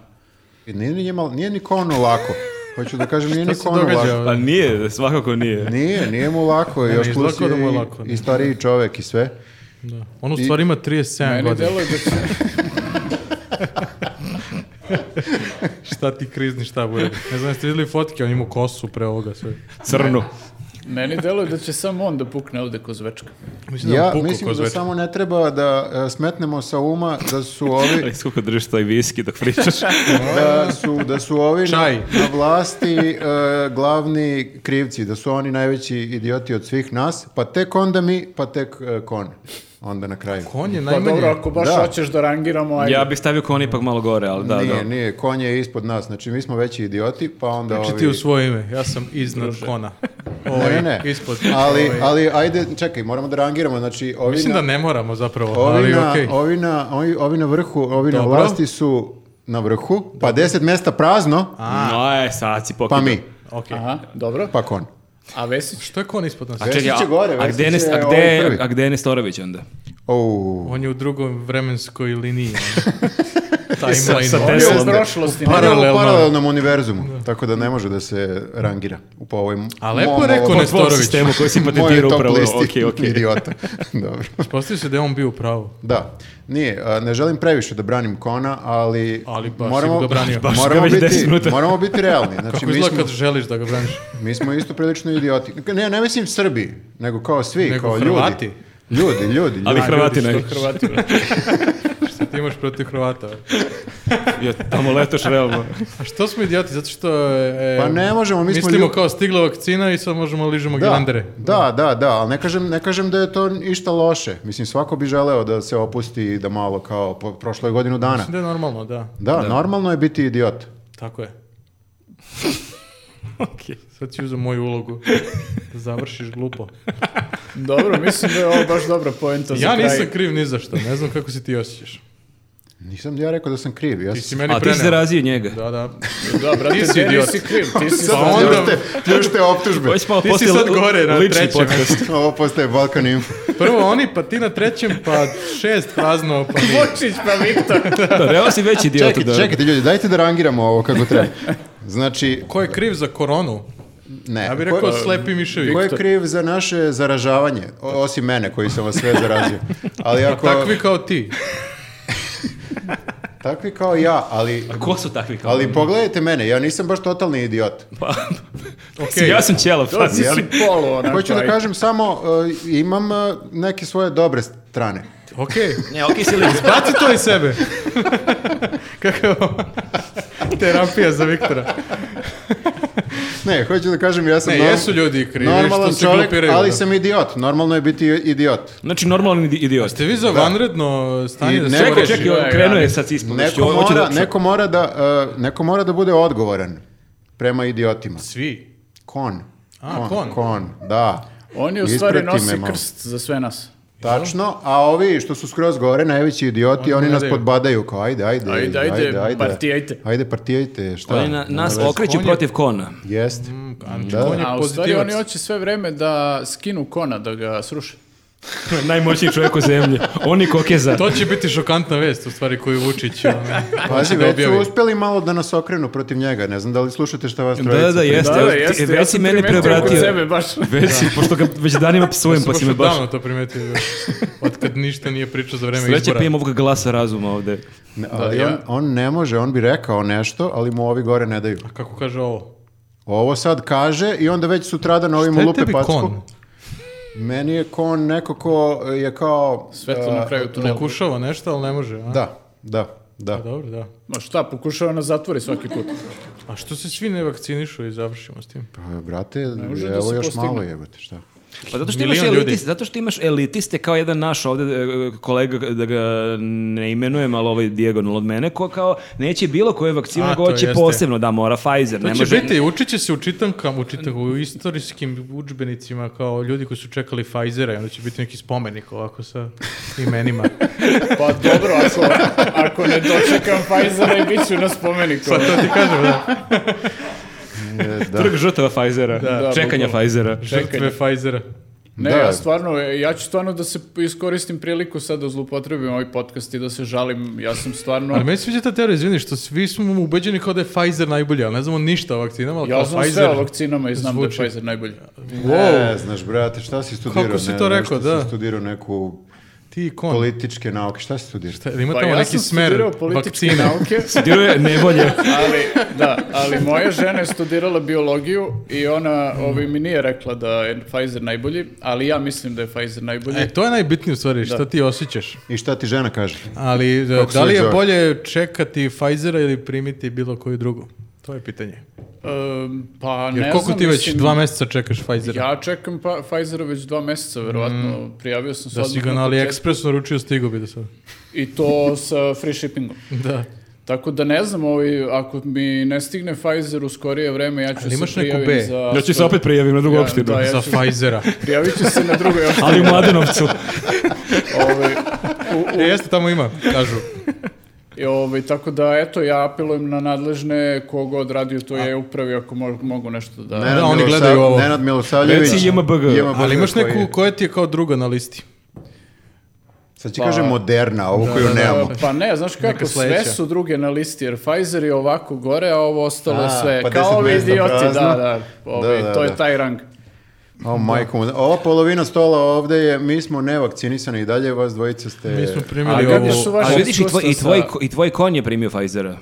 Nije, ni njima, nije ni konu lako. Hoću da kažem, nije ni
Šta se
konu
događa?
pa
ono,
lako.
ovdje?
nije, svakako nije.
Nije, nije mu lako, još
izgleda
plus
kao da mu
je
je
i-
lako, ne.
i stariji čovek i sve.
Da. On ono u stvari ima 37
Meni
godina.
deluje da se...
Šta ti krizni šta bude? Ne znam, jeste vidjeli fotke, on ima kosu pre ovoga sve.
Crno.
Meni deluje da će samo on da pukne ovde ko zvečka.
Mislim da
Ja
on puku
mislim
ko
da
zvečka.
samo ne treba da e, smetnemo sa uma da su ovi
Kako držiš taj viski dok pričaš?
da su da su ovi na,
Čaj.
na vlasti e, glavni krivci, da su oni najveći idioti od svih nas, pa tek onda mi, pa tek e, kon. Onda na kraju.
On je
Pa
najmanje...
dobro, ako baš
Da.
hoćeš da rangiramo, ajde.
ja bih stavio kon ipak malo gore, ali da,
Pa nije,
da.
nije, kon je ispod nas, znači mi smo veći idioti, pa onda
Znači
ovi...
ti u svoje ime, ja sam iznad kona. Ovaj,
Ne, ne, ne.
Ispod.
ali,
ovaj.
ali ajde, čekaj, moramo da rangiramo, znači ovi
Mislim
na-
da ne moramo zapravo,
Ovi,
ali
na,
okej.
ovi, na, ovi, ovi na vrhu, ovi na
Dobro.
vlasti su na vrhu, pa deset mesta prazno,
No, e, sad si
pa
pokidao.
mi,
Okej.
Aha, dobro.
pa kon.
A Vesić?
Što je kon ispod nas?
A čekaj,
Vesić je
a,
gore,
a,
Vesić
gde je Nes-
je
a, gde
ovaj
je-
prvi.
a gde je Nestorović onda?
Ou,
On je u drugoj vremenskoj liniji. ono. timeline.
Sa- sa
Ovo je
Teslom.
u prošlosti,
U
ne?
paralelnom,
Paralelno.
paralelnom univerzumu, tako da ne može da se rangira po ovoj
A lepo je rekao
Po tvom
Nestorović.
sistemu koji si
mojoj
patentirao
top
upravo.
listi
Ok, ok.
idiota. Dobro.
Postavio se da je on bio u pravu.
Da, nije, a, ne želim previše da branim Kona, ali,
Ali baš si
moramo,
ga branio. Baš
si ga
moramo,
već
biti,
10 minuta.
moramo biti realni. Znači,
Kako
mi
izgleda
smo,
kad želiš da ga braniš?
mi smo isto prilično idioti. Ne, ne mislim Srbi, nego kao svi,
Nego
kao
Hrvati.
ljudi. Ljudi, ljudi, ljudi.
Ali
A,
Hrvati
ljudi,
najviše.
što Hrvati, bre? Šta ti imaš protiv Hrvata? bre?
Ja, tamo letoš realno.
A što smo idioti? Zato što... e,
Pa ne možemo, mi smo
Mislimo
ljudi-
kao stigla vakcina i sad možemo ližemo
Da,
gilandere.
da, da, da, ali ne kažem, ne kažem da je to išta loše. Mislim, svako bi želeo da se opusti i da malo kao, po, prošlo je godinu dana.
Mislim Da je normalno, da.
Da, normalno je biti idiot.
Tako je.
Okej.
Sad ću uzem moju ulogu. Završiš glupo.
Dobro, mislim da je ovo baš dobra poenta za
Ja
kraj.
nisam kriv ni za što. Ne znam kako se ti osjećaš.
Nisam ja rekao da sam kriv. Ja
Ti
sam-
si meni
A ti si
preneo.
zarazio njega.
Da, da.
Da, brate,
Ti si
Denis
idiot. Pa
si kriv, ti si
Sad
sad-
onda-
pljušte- pljušte optužbe.
Ovo će malo
Ti si
postati
sad
li-
gore na
lični
trećem.
podcast.
Ovo postaje Balkan Info.
Prvo oni, pa ti na trećem, pa šest prazno, pa mi.
Vučić pa Viktor.
Da, realno si veći dio
Čekajte, čekajte ljudi, dajte da rangiramo ovo kako treba. Znači,
Ko je kriv za koronu?
ne.
Ja bih rekao
ko-
slepi miševi.
Ko je kriv za naše zaražavanje? O- osim mene koji sam vas sve zarazio. Ali ako...
Takvi kao ti.
takvi kao ja, ali...
Ko su takvi kao?
Ali pogledajte mene, ja nisam baš totalni idiot.
Pa,
Okej.
ja sam ćelav.
To si si polo onako.
Hoću da
aj.
kažem samo, uh, imam uh, neke svoje dobre strane.
Okej.
Ne, okej si lik.
Baci to iz sebe. Kako je ovo? Terapija za Viktora.
Ne, hoću da kažem, ja sam
Ne,
norm-
jesu ljudi krivi što
normalan
se
čovjek,
glupiraju,
ali
da.
sam idiot. Normalno je biti idiot.
Znači, normalni idi- idiot.
Ste vi za vanredno stanje
I
da se
neko-
Čekaj,
reši?
čekaj,
Ja,
on
ja,
krenuo
ja.
je sad s
Pa
ispovešću.
Neko
Ovo hoće
mora,
da-
neko, mora da, uh, neko mora da bude odgovoran prema idiotima.
Svi.
Kon.
A, kon.
da.
On je u stvari
Isprati me
nosi
malo.
krst za sve nas.
Tačno, a ovi što su skroz gore, najveći idioti, oni,
Oni
nas
gledaju.
podbadaju kao ajde, ajde,
Ajde, ajde, partijajte.
Ajde, partijajte, šta?
Oni na, nas
Nema veze.
okreću
On je-
protiv kona.
Jeste.
Mm, pa,
Da.
Da.
On je
A u stvari
pozitivac.
oni hoće sve vreme da skinu kona, da ga sruše.
Najmoćniji čovjek u zemlji. Oni kokeza.
To će biti šokantna vest, u stvari, koju Vučić ono,
Pazi,
pa
hoće da
već su
objavi.
uspeli malo da nas okrenu protiv njega, ne znam da li slušate šta vas
Da,
trojica.
da, da, jeste.
Da,
evo,
da,
ti-
jeste, ja
već si
sam
mene
primetio kod
preobratio.
sebe baš.
Već si, pošto ga već danima psujem, pa
Baš
si me baš...
davno to primetio. još. Od kad ništa nije pričao za vreme
Sreće
izbora.
pa imam ovog glasa razuma ovde.
Ne, ali
Da, ja-
on, on ne može, on bi rekao nešto, ali mu ovi gore ne daju.
Kako kaže ovo?
Ovo sad kaže i onda već sutradan ovim
Šta je
lupe
tebi
packu.
kon?
Meni je kon neko ko je kao...
Svetlo na
a,
kraju tunela.
Pokušava nešto, ali ne može. A?
Da, da, da.
Pa Dobro, da.
Ma šta, pokušava nas zatvori svaki put.
A što se svi ne vakcinišu i završimo s tim?
Pa, brate,
može da
evo
se
još
postigne.
malo jebate, šta?
Pa zato što, imaš
Milion ljudi.
elitiste, zato što imaš elitiste kao jedan naš ovde e, kolega, da ga ne imenujem, ali ovaj dijagonal od mene, ko kao neće bilo koje vakcine,
A,
nego
to
hoće
jeste.
posebno, da mora Pfizer.
To
ne
će
može,
biti, Znači, učit će se u čitankama, u, čitanku, u istorijskim udžbenicima kao ljudi koji su čekali Pfizera i onda će biti neki spomenik ovako sa imenima.
Pa dobro, ako, ako ne dočekam Pfizera i bit ću na spomeniku.
Pa to ti kažem, da.
E, da.
Trg žrtava Pfizera,
Da,
čekanja
bukvalno.
Pfizera.
Žrtve Pfizera.
Ne,
Da.
ja stvarno, ja ću stvarno da se iskoristim priliku sad da zlupotrebim ovaj podcast i da se žalim, ja sam stvarno...
Ali meni se sviđa ta teorija, izvini, što svi smo ubeđeni kao da je Pfizer najbolji, ali ne znamo ništa o vakcinama, ali
ja
kao
znam
Pfizer...
sve o vakcinama i znam
zvuči.
da je Pfizer najbolji.
Ne, znaš, brate, šta si studirao?
Kako si
Ne,
to
nešto
rekao, da.
Si studirao neku
Ti i kon.
političke nauke, šta si studirao?
Šta, Ima
Pa
tamo
ja
neki
sam
smer
studirao političke
vakcine.
nauke,
Diruje nevolje.
ali, da, ali moja žena je studirala biologiju i ona ovaj, mi nije rekla da je Pfizer najbolji, ali ja mislim da je Pfizer najbolji.
E, to je najbitnije u stvari, što ti osjećaš.
I šta ti žena kaže?
Ali da,
Kako se
da li je
zove?
bolje čekati Pfizera ili primiti bilo koju drugu? To je pitanje.
Um, pa ne
Jer koliko
znam,
ti već
mislim,
dva meseca čekaš Pfizera?
Ja čekam pa, Pfizera već dva meseca, verovatno. Prijavio sam se
Mm. Da si
odmah
ga na
početku.
AliExpress naručio, stigo bi do sada.
I to sa free shippingom.
Da.
Tako da ne znam, ovaj, ako mi ne stigne Pfizer u skorije vreme, ja ću
Ali imaš
se
neku
prijavim
B?
za...
Ja ću se opet prijavim na drugu
Ja,
opštinu.
da, ja
Za
ću-
Pfizera.
Prijavit ću se na drugoj opštini.
Ali u Mladenovcu.
ovaj, u- u-
E, jeste, tamo ima, kažu.
i ovaj, tako da, eto, ja apelujem na nadležne kogo odradio to je upravi ako mo- mogu nešto da...
Nenad
Da, oni
Milosav-
gledaju ovo.
Nenad Milosavljević.
Reci JMBG.
Ali imaš
koji-
neku koja ti je kao druga na listi.
Sad ti kaže moderna, ovu koju nemamo.
Pa ne, znaš kako,
Neka
sve
sledeća.
su druge na listi, jer Pfizer je ovako gore, a ovo ostalo je
A,
sve.
pa
Kao
10
ovi
mesta
idioti, da,
prazno.
da, ovi,
Da, da,
to je
da.
taj rang.
O, majko, mu- ova polovina stola ovde je, mi smo nevakcinisani i dalje, vas dvojica ste...
Mi smo
A
primili
kako
ovo...
su vaše
Ali vidiš, i tvoj, i,
iskustva
tvoj,
sa-
i tvoj kon je primio Pfizera.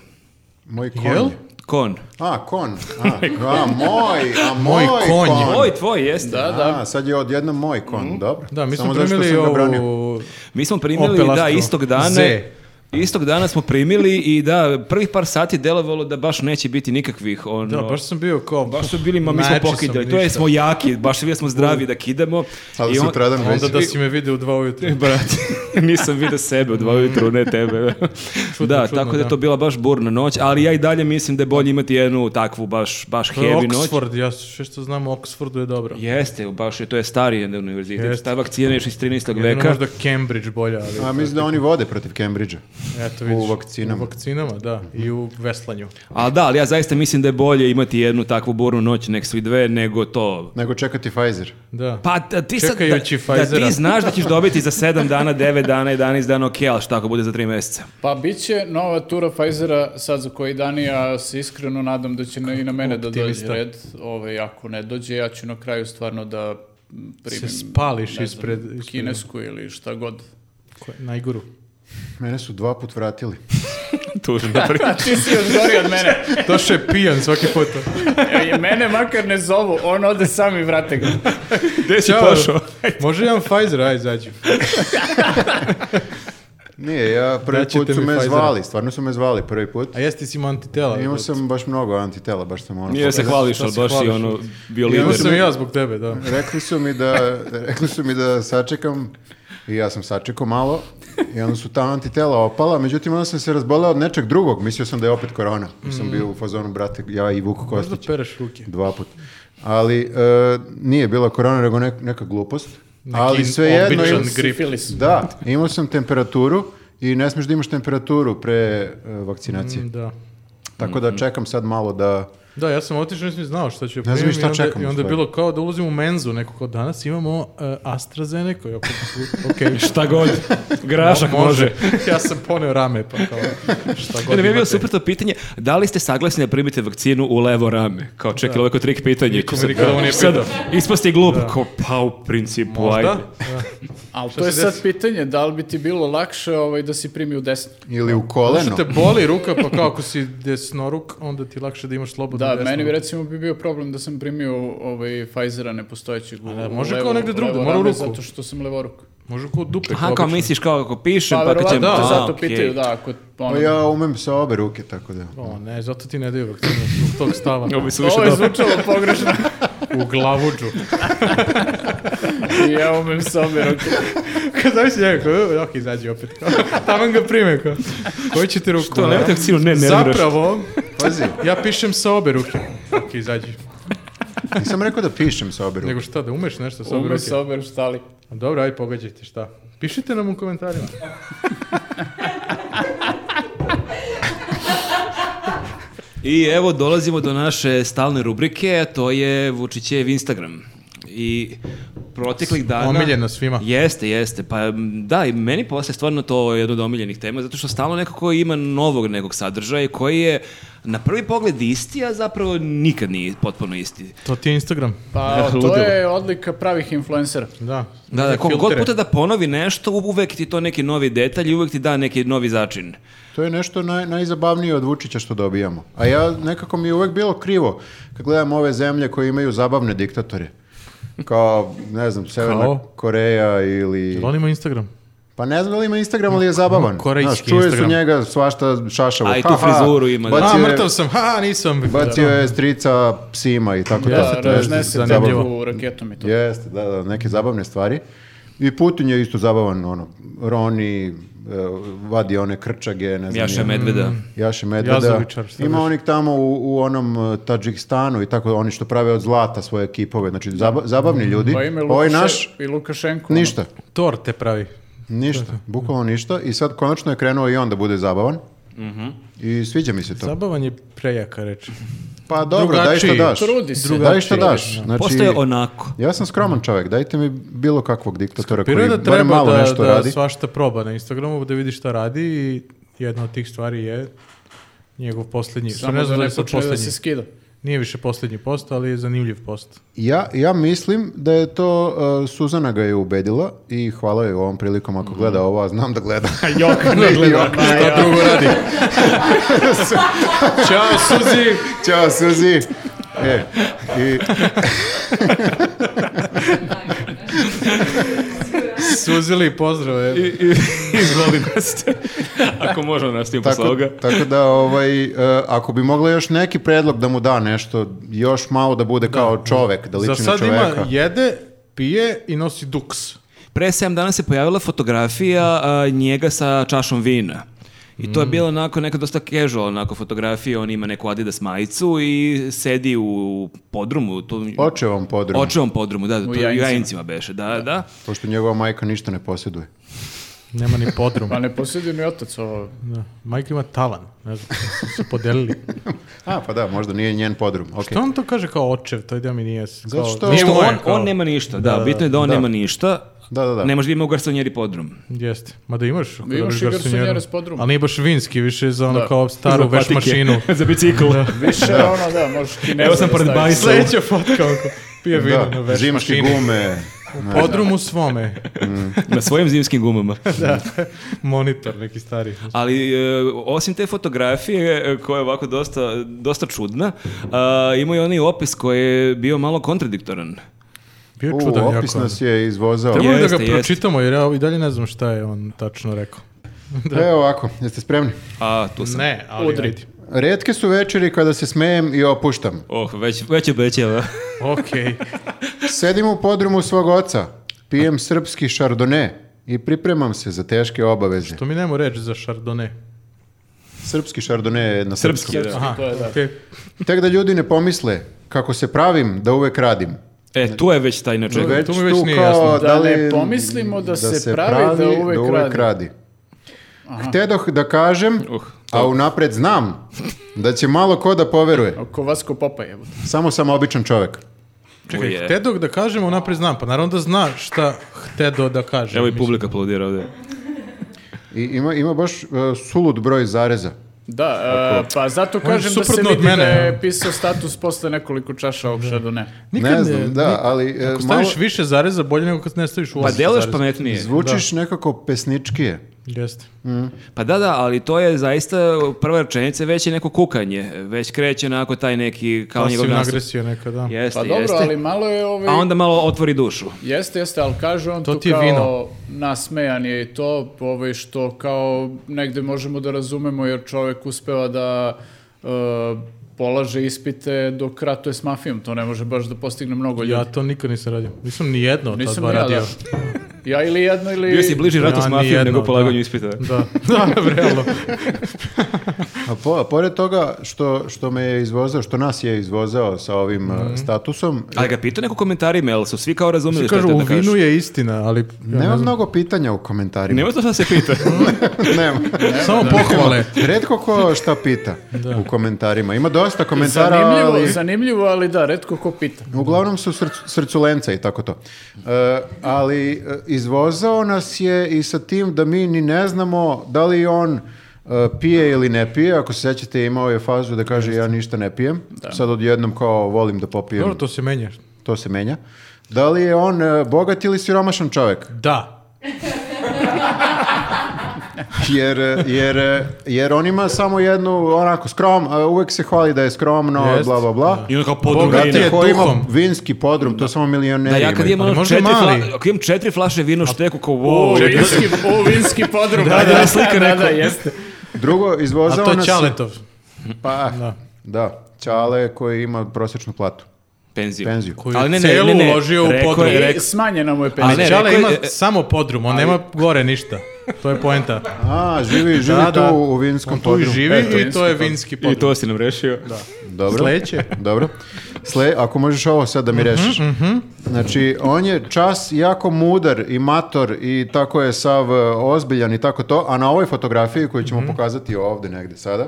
Moj konj.
Jel?
Kon.
A, kon. A, a moj, a moj,
Moj konj.
kon.
Tvoj, tvoj, jeste.
Da, da.
A, sad je odjednom moj kon, dobro.
Da, mi smo
Samo zato što
primili
sam ga branio.
ovo...
Mi smo primili,
Opel
da,
Astra.
istog dana.
Z.
Istog dana smo primili i da, prvih par sati delovalo da baš neće biti nikakvih, ono...
Da, baš sam bio kao...
baš su bili, ma mi smo
Najjači sam,
pokidali, to je,
ništa.
smo jaki, baš bili smo zdravi da kidamo.
Ali
I on-
sutradan već.
Onda da si me vidio u dva ujutru.
Brate, nisam vidio sebe u dva ujutru, ne tebe. da,
čudno,
tako da je
da.
to bila baš burna noć, ali ja i dalje mislim da je bolje imati jednu takvu baš, baš
To je
heavy noć.
Oxford, ja sve što znam o Oxfordu je dobro.
Jeste, baš je, to je stari jedan univerzitet.
Jeste.
Ta vakcina je još iz 13.
Jedino
veka.
možda Cambridge bolja, ali...
A, mislim da oni vode protiv Cambridgea.
Eto, vidiš,
u vakcinama.
U vakcinama, da. I u veslanju.
Ali da, ali ja zaista mislim da je bolje imati jednu takvu burnu noć nek su i dve nego to.
Nego čekati Pfizer.
Da.
Pa da ti sad,
Čekajući
da, da ti
Pfizera.
znaš da ćeš dobiti za 7 dana, 9 dana, 11 dana, ok, ali šta ako bude za 3 mjeseca?
Pa bit će nova tura Pfizera sad za koji dan i ja se iskreno nadam da će na, i na mene da dođe
Optimista.
red. Ove, ako ne dođe, ja ću na kraju stvarno da m, primim...
spališ
ne znam,
ispred- ispred-
Kinesku ili šta god.
Ko je najguru.
Mene su dva put vratili.
Tužno.
A ti si još gori od mene.
Došao je pijan svaki put.
E, Mene makar ne zovu, on ode sam i vrate ga.
Gde si
Ćao.
pošao?
Može jedan Pfizer, aj, izađi.
Nije, ja prvi
Daćete
put su
mi
me
Pfizera.
zvali, stvarno su me zvali prvi put.
A jesi ti si imao antitela?
Imao sam baš mnogo antitela, baš sam ono...
Nije se hvališ, ali baš si ono bio
Imao
lider.
sam i ja zbog tebe, da.
Rekli su mi da, rekli su mi da sačekam i ja sam sačekao malo i onda su ta antitela opala, međutim onda sam se razboleo od nečeg drugog, mislio sam da je opet korona. Mm. Sam bio u fazonu, brate, ja i Vuk
Možda
Kostić,
pereš ruke.
dva put. Ali e, nije bila korona, nego nek- neka glupost. ali sve jedno,
običan grip.
Sifilis.
da, imao sam temperaturu i ne smiješ da imaš temperaturu pre e, vakcinacije.
Da.
Tako
mm,
da čekam sad malo da...
Da, ja sam otišao, nisam ni znao šta ću
znam
primim.
ni šta
i onda-
čekam,
I onda je
stvarno.
bilo kao da ulazim u menzu, neko kao danas imamo uh, AstraZeneca. Ja, kao, ok,
Šta god, grašak može.
ja sam poneo rame, pa kao šta god
Ne, ne, mi je bilo
imate.
super to pitanje, da li ste saglasni da primite vakcinu u levo rame? Kao čekaj, ovo je kao trik pitanje.
Niko me
Sad-
nikada ovo nije
sad
pitao.
Ispasti glup, kao pa u principu,
Možda?
ajde.
Da.
Ali to
se
je sad
desi?
pitanje, da li bi ti bilo lakše ovaj, da si primio desnu?
Ili u
Zašto
koleno.
te boli ruka, pa kao ako si desnoruk, onda ti je lakše da imaš slobodno
Da,
desno.
meni bi recimo bi bio problem da sam primio ovaj Pfizera nepostojećeg u,
da,
u
može kao
levo-
negde drugde,
levo
mora u
rame
ruku.
Zato što sam levoruk.
Može kao dupe.
Aha, kao
obično.
misliš kao ako pišem,
Pa
pa kad
verovatno
ćemo...
te
a,
zato
okej.
pitaju, da, ako ono,
Pa ja umem sa obe ruke, tako da...
O, ne, zato ti ne daju vakcinu, zbog tog stava.
Ovo bi se više
Ovo je
dobro.
zvučalo pogrešno
u glavuđu.
i ja umem sa obe ruke.
Kad znaš njega, kao, ok, izađi opet. Taman ga prime, kao. Koji će ti ruku?
To, nemate
da?
Pa, vakcinu, ne, ne
Zapravo,
Pazi,
ja pišem sa obe ruke. Ok, izađi.
nisam rekao da pišem sa obe ruke.
Nego šta, da umeš nešto sa obe
Umem
ruke?
sa obe štali.
Dobro, aj pogađajte, šta? Pišite nam u komentarima.
I evo dolazimo do naše stalne rubrike, a to je Vučićev Instagram. I proteklih dana...
Omiljeno svima.
Jeste, jeste. Pa m, da, i meni postaje stvarno to jedno od omiljenih tema, zato što stalno nekako ima novog nekog sadržaja koji je na prvi pogled isti, a zapravo nikad nije potpuno isti.
To ti je Instagram.
Pa to
Ludilo.
je odlika pravih influencera.
Da.
Da, da,
Neke
koliko Dakle, god
filtere.
puta da ponovi nešto, u- uvek ti to neki novi detalj i uvek ti da neki novi začin.
To je nešto naj, najzabavnije od Vučića što dobijamo. A ja nekako mi je uvek bilo krivo kad gledam ove zemlje koje imaju zabavne diktatore. Kao, ne znam, Severna
Kao?
Koreja ili...
Jel On ima Instagram.
Pa ne znam da li ima Instagram, ali je zabavan.
korejski
Znaš, čuje su
Instagram.
njega svašta šašavo.
A i tu
Ha, Pa ha,
frizuru ima, da.
Bacio
A, mrtav
je,
sam, ha, nisam.
bacio je strica psima i tako
Da,
to.
raznese
Zabavno.
tebu raketom i to.
Jeste, da, da, neke zabavne stvari. I Putin je isto zabavan, ono, Roni, e, vadi one krčage, ne znam.
Jaša
ja-
Medveda.
Jaše Medveda.
Jazovičar, šta
Ima
već.
onih tamo u, u onom e, Tadžikstanu i tako, oni što prave od zlata svoje ekipove, znači zaba- zabavni ljudi.
Pa ime
Ovaj
Lukaše,
naš,
i Lukašenko. ono.
ništa,
Torte pravi.
ništa, bukvalno ništa. I sad konačno je
Mhm.
krenuo i on da bude zabavan. I sviđa mi se to.
Zabavan je prejaka reč.
Pa dobro, daj šta
Drugačiji.
daš.
Trudi se.
Daj šta
Drugačiji,
daš. Znači,
Postoje onako.
Ja sam skroman čovjek, dajte mi bilo kakvog diktatora koji
Priroda
bar
treba
malo
Mhm. da,
nešto
da
radi.
svašta proba na Instagramu, da vidi šta radi i jedna od tih stvari je njegov posljednji. Samo
ono, Samo
ne
da
znam da
ne
je sad
počne da
posljednji.
se skida.
Nije više posljednji post, ali je zanimljiv post.
Ja, ja mislim da je to, uh, Suzana ga je ubedila i hvala joj ovom prilikom
Mhm.
ako gleda ovo, a znam da gleda. Jokana gleda.
Šta drugo radi? Ćao, Suzi!
Ćao Suzi. E, i,
Suzili pozdrave.
Izvoli nas. Ako možemo nas ti posle
tako,
ovoga.
tako da ovaj, uh, ako bi mogla još neki predlog da mu da nešto, još malo da bude kao čovek, da
Za
liči na
sad
čoveka.
ima jede, pije i nosi duks.
Pre 7 dana se pojavila fotografija a, njega sa čašom vina. I to je bilo onako neka dosta casual onako fotografija, on ima neku Adidas majicu i sedi u podrumu, tu
Očevom podrumu,
očevom podrumu, da, to je u
Jajincima.
Jajincima beše, da, da.
pošto njegova majka ništa ne posjeduje.
Nema ni podrum.
Pa ne posjedio ni otac ovo.
Da. Majka ima talan. Ne znam, su se podelili.
A, pa da, možda nije njen podrum. Okay.
Što on to kaže kao očev? To ide mi nije... s- Kao,
Zato što-
nije
Što
moje,
on,
kao.
on nema ništa, da, bitno je da on nema ništa.
Da, da, da.
Ne može da ima u garsonjeri podrum.
Jeste. Ma da imaš. ako
Imaš
dobiš
i garsonjere
garsonjeru.
s podrumom.
Ali nije baš vinski, više je za ono
Da.
kao staru veš mašinu.
Za bicikl.
Više ono, da, možeš ti ne
Evo sam pored bajsa.
Sljedeća fotka onko. Pije vino na
Da,
veš
zimske
mašini.
gume.
Podrum u svome.
Na svojim zimskim gumama.
Monitor neki stari.
Ali e, osim te fotografije e, koja je ovako dosta, dosta čudna, a, imao je onaj opis koji je bio malo kontradiktoran.
Bio je
U,
čudan jako. ono.
opis nas je izvozao.
Trebalo bi da
Jeste,
ga
jeste.
pročitamo jer ja i dalje ne znam šta je on tačno rekao.
Evo ovako, jeste spremni?
A, tu sam.
Ne, ali...
Udri.
ajde.
Retke su večeri kada se smejem i opuštam.
Oh, već, već je bećeva.
Okej.
Sedim u podrumu svog oca, pijem srpski šardone i pripremam se za teške obaveze.
To mi nemo reći za Chardonnay.
Srpski šardone je na srpskom.
Srpski, da.
Aha,
to je da.
okej.
Tek da ljudi ne pomisle kako se pravim da uvek radim.
Znači-
E, tu je već taj način.
Već
to mi već
tu
nije
kao
jasno.
Da ne pomislimo da se pravi da uvek radi.
Htedoh da kažem,
Uh,
a unapred znam da će malo ko da poveruje.
Oko Vasko Popa je.
Samo sam običan čovek.
Čekaj,
Htedog da kažem, unaprijed znam. Pa naravno da zna šta htedo da kaže.
Evo i
Mislim,
publika aplaudira ovdje. Pa
I ima, ima baš uh, sulud broj zareza.
Da, e, pa zato kažem da se
suprotno
vidi
od mene.
da je pisao status posle nekoliko čaša ovog Chardonnay.
nikad
ne znam, da, ali uh,
Ako
malo
staviš više zareza, bolje nego kad ne staviš u
Pa
osam
deluješ
zareza.
pametnije.
zvučiš nekako pesničkije.
Jeste.
Pa da, da, ali to je zaista prva rečenica već je neko kukanje. Već kreće onako taj neki kao njegov
Pasivna
nastup.
agresija neka, da.
Jeste,
Pa dobro,
jeste.
ali malo je ovaj...
A onda malo otvori dušu.
Jeste, jeste, ali kaže on
To
to,
ti je
kao
vino.
nasmejan je i to, ovaj što kao negde možemo da razumemo jer čovek uspeva da e, polaže ispite dok ratuje s mafijom, to ne može baš da postigne mnogo ljudi.
Ja to nikad nisam radio. Nisam ni jedno od ta
Pa Nisam
dva
ni ja, da.
radio.
Ja ili jedno ili...
Bio si bliži ratu
Ja
s mafijom
nijedno,
nego polaganju
da.
ispita.
Da, da, realno.
A po- a pored toga što, što me je izvozao, što nas je izvozao sa ovim uh, statusom,
Ali ga pitao neko u komentarima, jel su svi kao razumeli
Svi
što
kažu,
je
u
da kažeš?
vinu je istina, ali ja ne
nema
znam.
mnogo pitanja u komentarima.
Nema to šta se pita.
Nema.
Samo pohvale.
Redko ko šta pita u komentarima. Ima dosta komentara,
Zanimljivo,
ali
zanimljivo, ali da, redko ko pita.
uglavnom su src- srculenca i tako to. E, ali e, izvozao nas je i sa tim da mi ni ne znamo da li on e, pije ili ne pije. Ako se sećate, imao je fazu da kaže ja ništa ne pijem. Sad odjednom kao volim da popijem.
Dobro, to se menja.
To se menja. Da li je on e, bogat ili siromašan čovek?
Da.
Jer, e, jer, e, jer on ima samo jednu, onako, skrom, e, uvek se hvali da je skromno,
Jest.
bla, bla, bla.
I onda kao
Bogati
Brate,
je
ko ima
duhom.
vinski podrum, to samo milioneri
Da ja kad
imaju.
imam,
Ali
ono
pa možda
četiri,
mali.
fla- ako imam četiri flaše vino što je rekao kao wow,
O, vinski, o, vinski podrum. da, da,
slika
da,
neko.
da, jeste.
Drugo,
A
izvozao
to je
nas-
Ćaletov.
Pa,
Da.
da. Čale koji ima prosječnu platu.
penziju.
Penziju.
Koju celu uložio u
rekao je-
podrum.
I
rekao-
smanjena mu je
A
penzija.
ne,
Čale
rekao je-
ima
e,
samo podrum, on nema gore ništa. To je poenta.
A, živi, živi
Da,
tu
da.
u vinskom
On tu i
podrumu.
živi
Eto,
i to je vinski podrum.
I to si nam rešio.
Dobro.
Sledeće.
Dobro. Sle, ako možeš ovo sad
Mhm,
da mi rešiš. Znači, on je čas jako mudar i mator i tako je sav e, ozbiljan i tako to, a na
Mhm.
ovoj fotografiji koju ćemo pokazati ovde negde sada,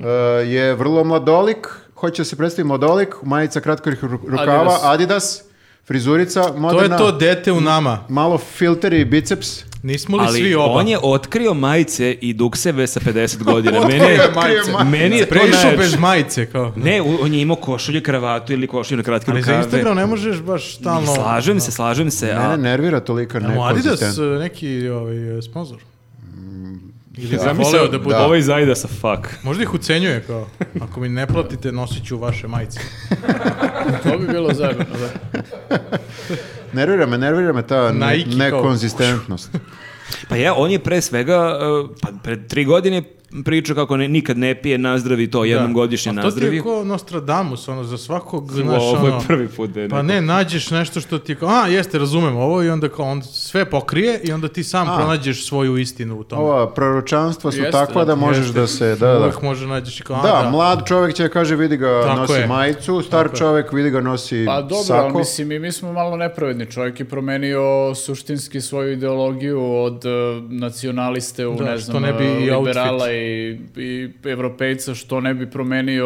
e, je vrlo mladolik, Hoće da se predstavi mladolik, majica kratkih ru- rukava, Adidas.
Adidas.
frizurica,
To je
moderna,
to dete u nama.
malo filter i biceps.
Nismo li
Ali
svi oba?
on je otkrio majice i dukseve sa 50 godina. Meni je,
Otkrio majice.
meni je to
Prešao
najjače.
bez majice, kao.
Ne, u- on je imao košulju, kravatu ili košulju na kratke
Ali
rukave.
za Instagram ono- ne možeš baš stalno...
Slažem se, slažem se. a-
Mene nervira tolika
Mu Adidas
nekonzistentnost.
e, neki ovaj, e, sponsor. Ili
Ja
da, voleo da bude.
Ovo iz Aidasa, ovaj fuck.
Možda ih ucenjuje kao, ako mi ne platite, nosit ću vaše majice.
To bi bilo zajebano, da.
Nervira me, nervira me ta ne-
Nike kao-
nekonzistentnost.
Pa ja, on je pre svega, uh, pa pred tri godine pričao kako ne, nikad ne pije, nazdravi to jednom godišnje
A to ti
nazdravi.
je kao Nostradamus, ono, za svakog,
Ovo,
znaš,
ovo je
ono,
prvi put da je
Pa
neko-
ne, nađeš nešto što ti je kao, a jeste, razumem ovo i onda kao on sve pokrije i onda ti sam pronađeš svoju istinu u tome.
Ova proročanstva su
Jeste,
takva da
jeste.
možeš da se... Da, da.
Uvek može nađeš i kao, a,
Da,
da,
mlad čovjek će kaže vidi ga
Tako
nosi
je.
majicu, star čovjek vidi ga nosi
Pa dobro, ali
sako.
mislim, i mi smo malo nepravedni. Čovjek je promenio suštinski svoju ideologiju od e, nacionaliste u,
Da,
ne
što
znam,
ne bi
e,
i
liberala i, i evropejca, što ne bi promenio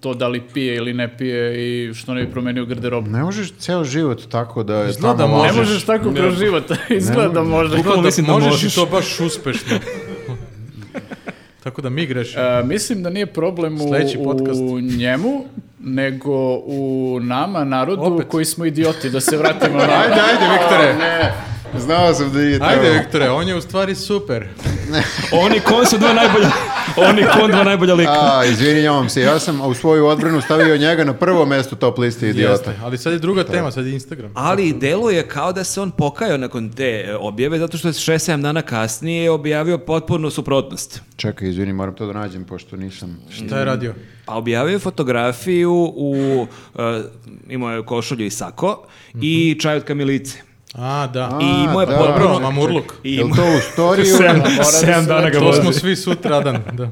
to da li pije ili ne pije i što ne bi promenio garderobu.
Ne možeš ceo život tako da je
Izgleda
tamo
možeš.
Ne možeš tako kroz život, izgleda da možeš.
bukvalno
mislim da
možeš,
možeš.
i to baš uspešno. Tako da mi grešimo.
E, mislim da nije problem u,
Sljedeći podcast.
u njemu, nego u nama, narodu,
Opet.
koji smo idioti, da se vratimo na...
Ajde, ajde, Viktore. Ne, znao sam da nije to.
Ajde, Viktore, on je u stvari super.
Oni kon su dva najbolja, oni kon dva najbolja lika.
A, izvinjavam se, ja sam u svoju odbranu stavio njega na prvo mesto top liste idiota.
Jeste, ali sad je druga tema, sad je Instagram.
Ali deluje kao da se on pokajao nakon te e, objave, zato što je 6-7 dana kasnije objavio potpuno suprotnost.
Čekaj, izvini, moram to da nađem, pošto nisam...
Šta je radio?
Pa objavio je fotografiju u, e, imao je košulju i sako, i čaj od kamilice.
A, da.
Mhm. A,
I moje
da.
Dobro,
potpuno...
mamurluk.
I
Je li
imao-
to u storiju?
Sedam-
da se
sedam dana ga
To
vozi.
smo svi sutradan, da.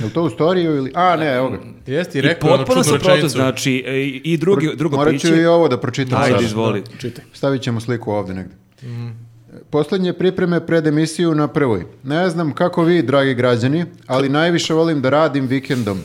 Je li to u storiju ili... A, ne, evo ga.
Jeste, i
I
rekao je ono
potpuno
čudnu
suprotno,
rečenicu.
znači, e, i, i drugi, drugo
Morat ću i
piće.
ovo da Znači, pročitam
Ajde, Mm.
sada.
izvoli.
Stavit ćemo sliku ovdje negdje. Posljednje pripreme pred emisiju na prvoj. Ne znam kako vi, dragi građani, ali najviše volim da radim vikendom.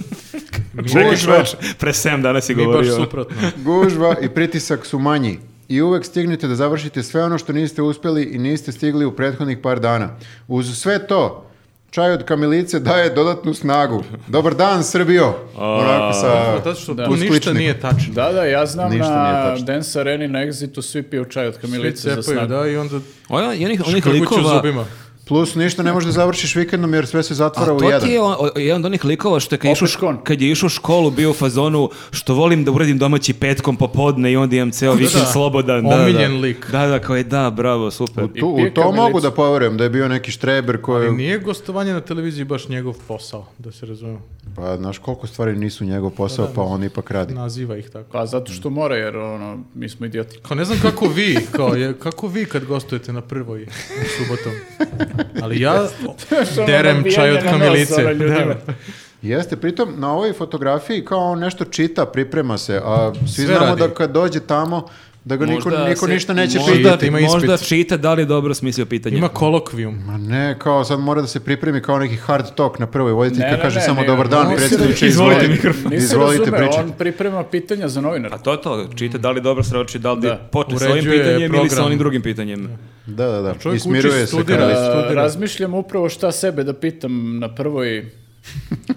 Čekaj, čoveč, pre 7 dana si
Mi baš
govorio.
suprotno.
Gužva i pritisak su manji. I uvek stignete da završite sve ono što niste uspjeli i niste stigli u prethodnih par dana. Uz sve to, čaj od kamilice daje dodatnu snagu. Dobar dan, Srbijo! Onako sa...
Zato što
Da.
tu ništa
Uskličnik.
nije tačno.
Da, da, ja znam
Ništa nije
na
tačno.
Dance Areni na Exitu svi piju čaj od
Svi
kamilice za
cepaju,
snagu.
da, i onda
Ono, i onih, onih
škrguću
likova...
zubima.
Plus ništa ne možeš da završiš vikendom jer sve se zatvara
A
u
to
jedan.
ti je on, o- jedan od onih likova što je kad, je išao,
škon.
kad je išao u školu bio u fazonu što volim da uradim domaći petkom popodne i onda imam ceo vikend
da.
slobodan. Da, da.
Omiljen lik.
Da, da, kao je da, bravo, super.
Tu, u
pije
to
kamilicu.
mogu da poverujem da je bio neki štreber koji...
Nije gostovanje na televiziji baš njegov posao, da se razumemo.
Pa, znaš, koliko stvari nisu njegov posao, pa on ipak radi.
Naziva ih tako.
Pa zato što mora, jer ono, mi smo idioti.
Kao ne znam kako vi, kao je, kako vi kad gostujete na prvoj u subotom. Ali ja
ono
derem čaj
nabijanje
od
na nos,
kamilice.
ono, ljudima.
Da.
Jeste, pritom na ovoj fotografiji kao on nešto čita, priprema se, a svi
Sve
znamo
radi.
da kad dođe tamo, da ga niko,
Možda
niko
se-
ništa neće
možda,
pitati.
ima ispit.
Možda čita da li je dobro smislio pitanje.
Ima kolokvijum.
Ma ne, kao sad mora da se pripremi kao neki hard talk na prvoj voditeljka,
Ne, ne,
kaže
ne,
samo
ne,
dobar
ne,
dan,
nisi
predsjedniče,
razumeo.
izvolite.
mikrofon.
Nisi
Izvolite,
razumeo,
pričajte.
on priprema pitanja za novinara.
A to je to, čita da li je dobro sroči, da li
Da.
da. počne s ovim
Uređuje
pitanjem ili sa
program.
onim drugim pitanjem.
Da, da, da.
čovjek
I smiruje
uči,
se.
studira.
kao list.
A,
Uh,
studira.
razmišljam upravo šta sebe da pitam na prvoj...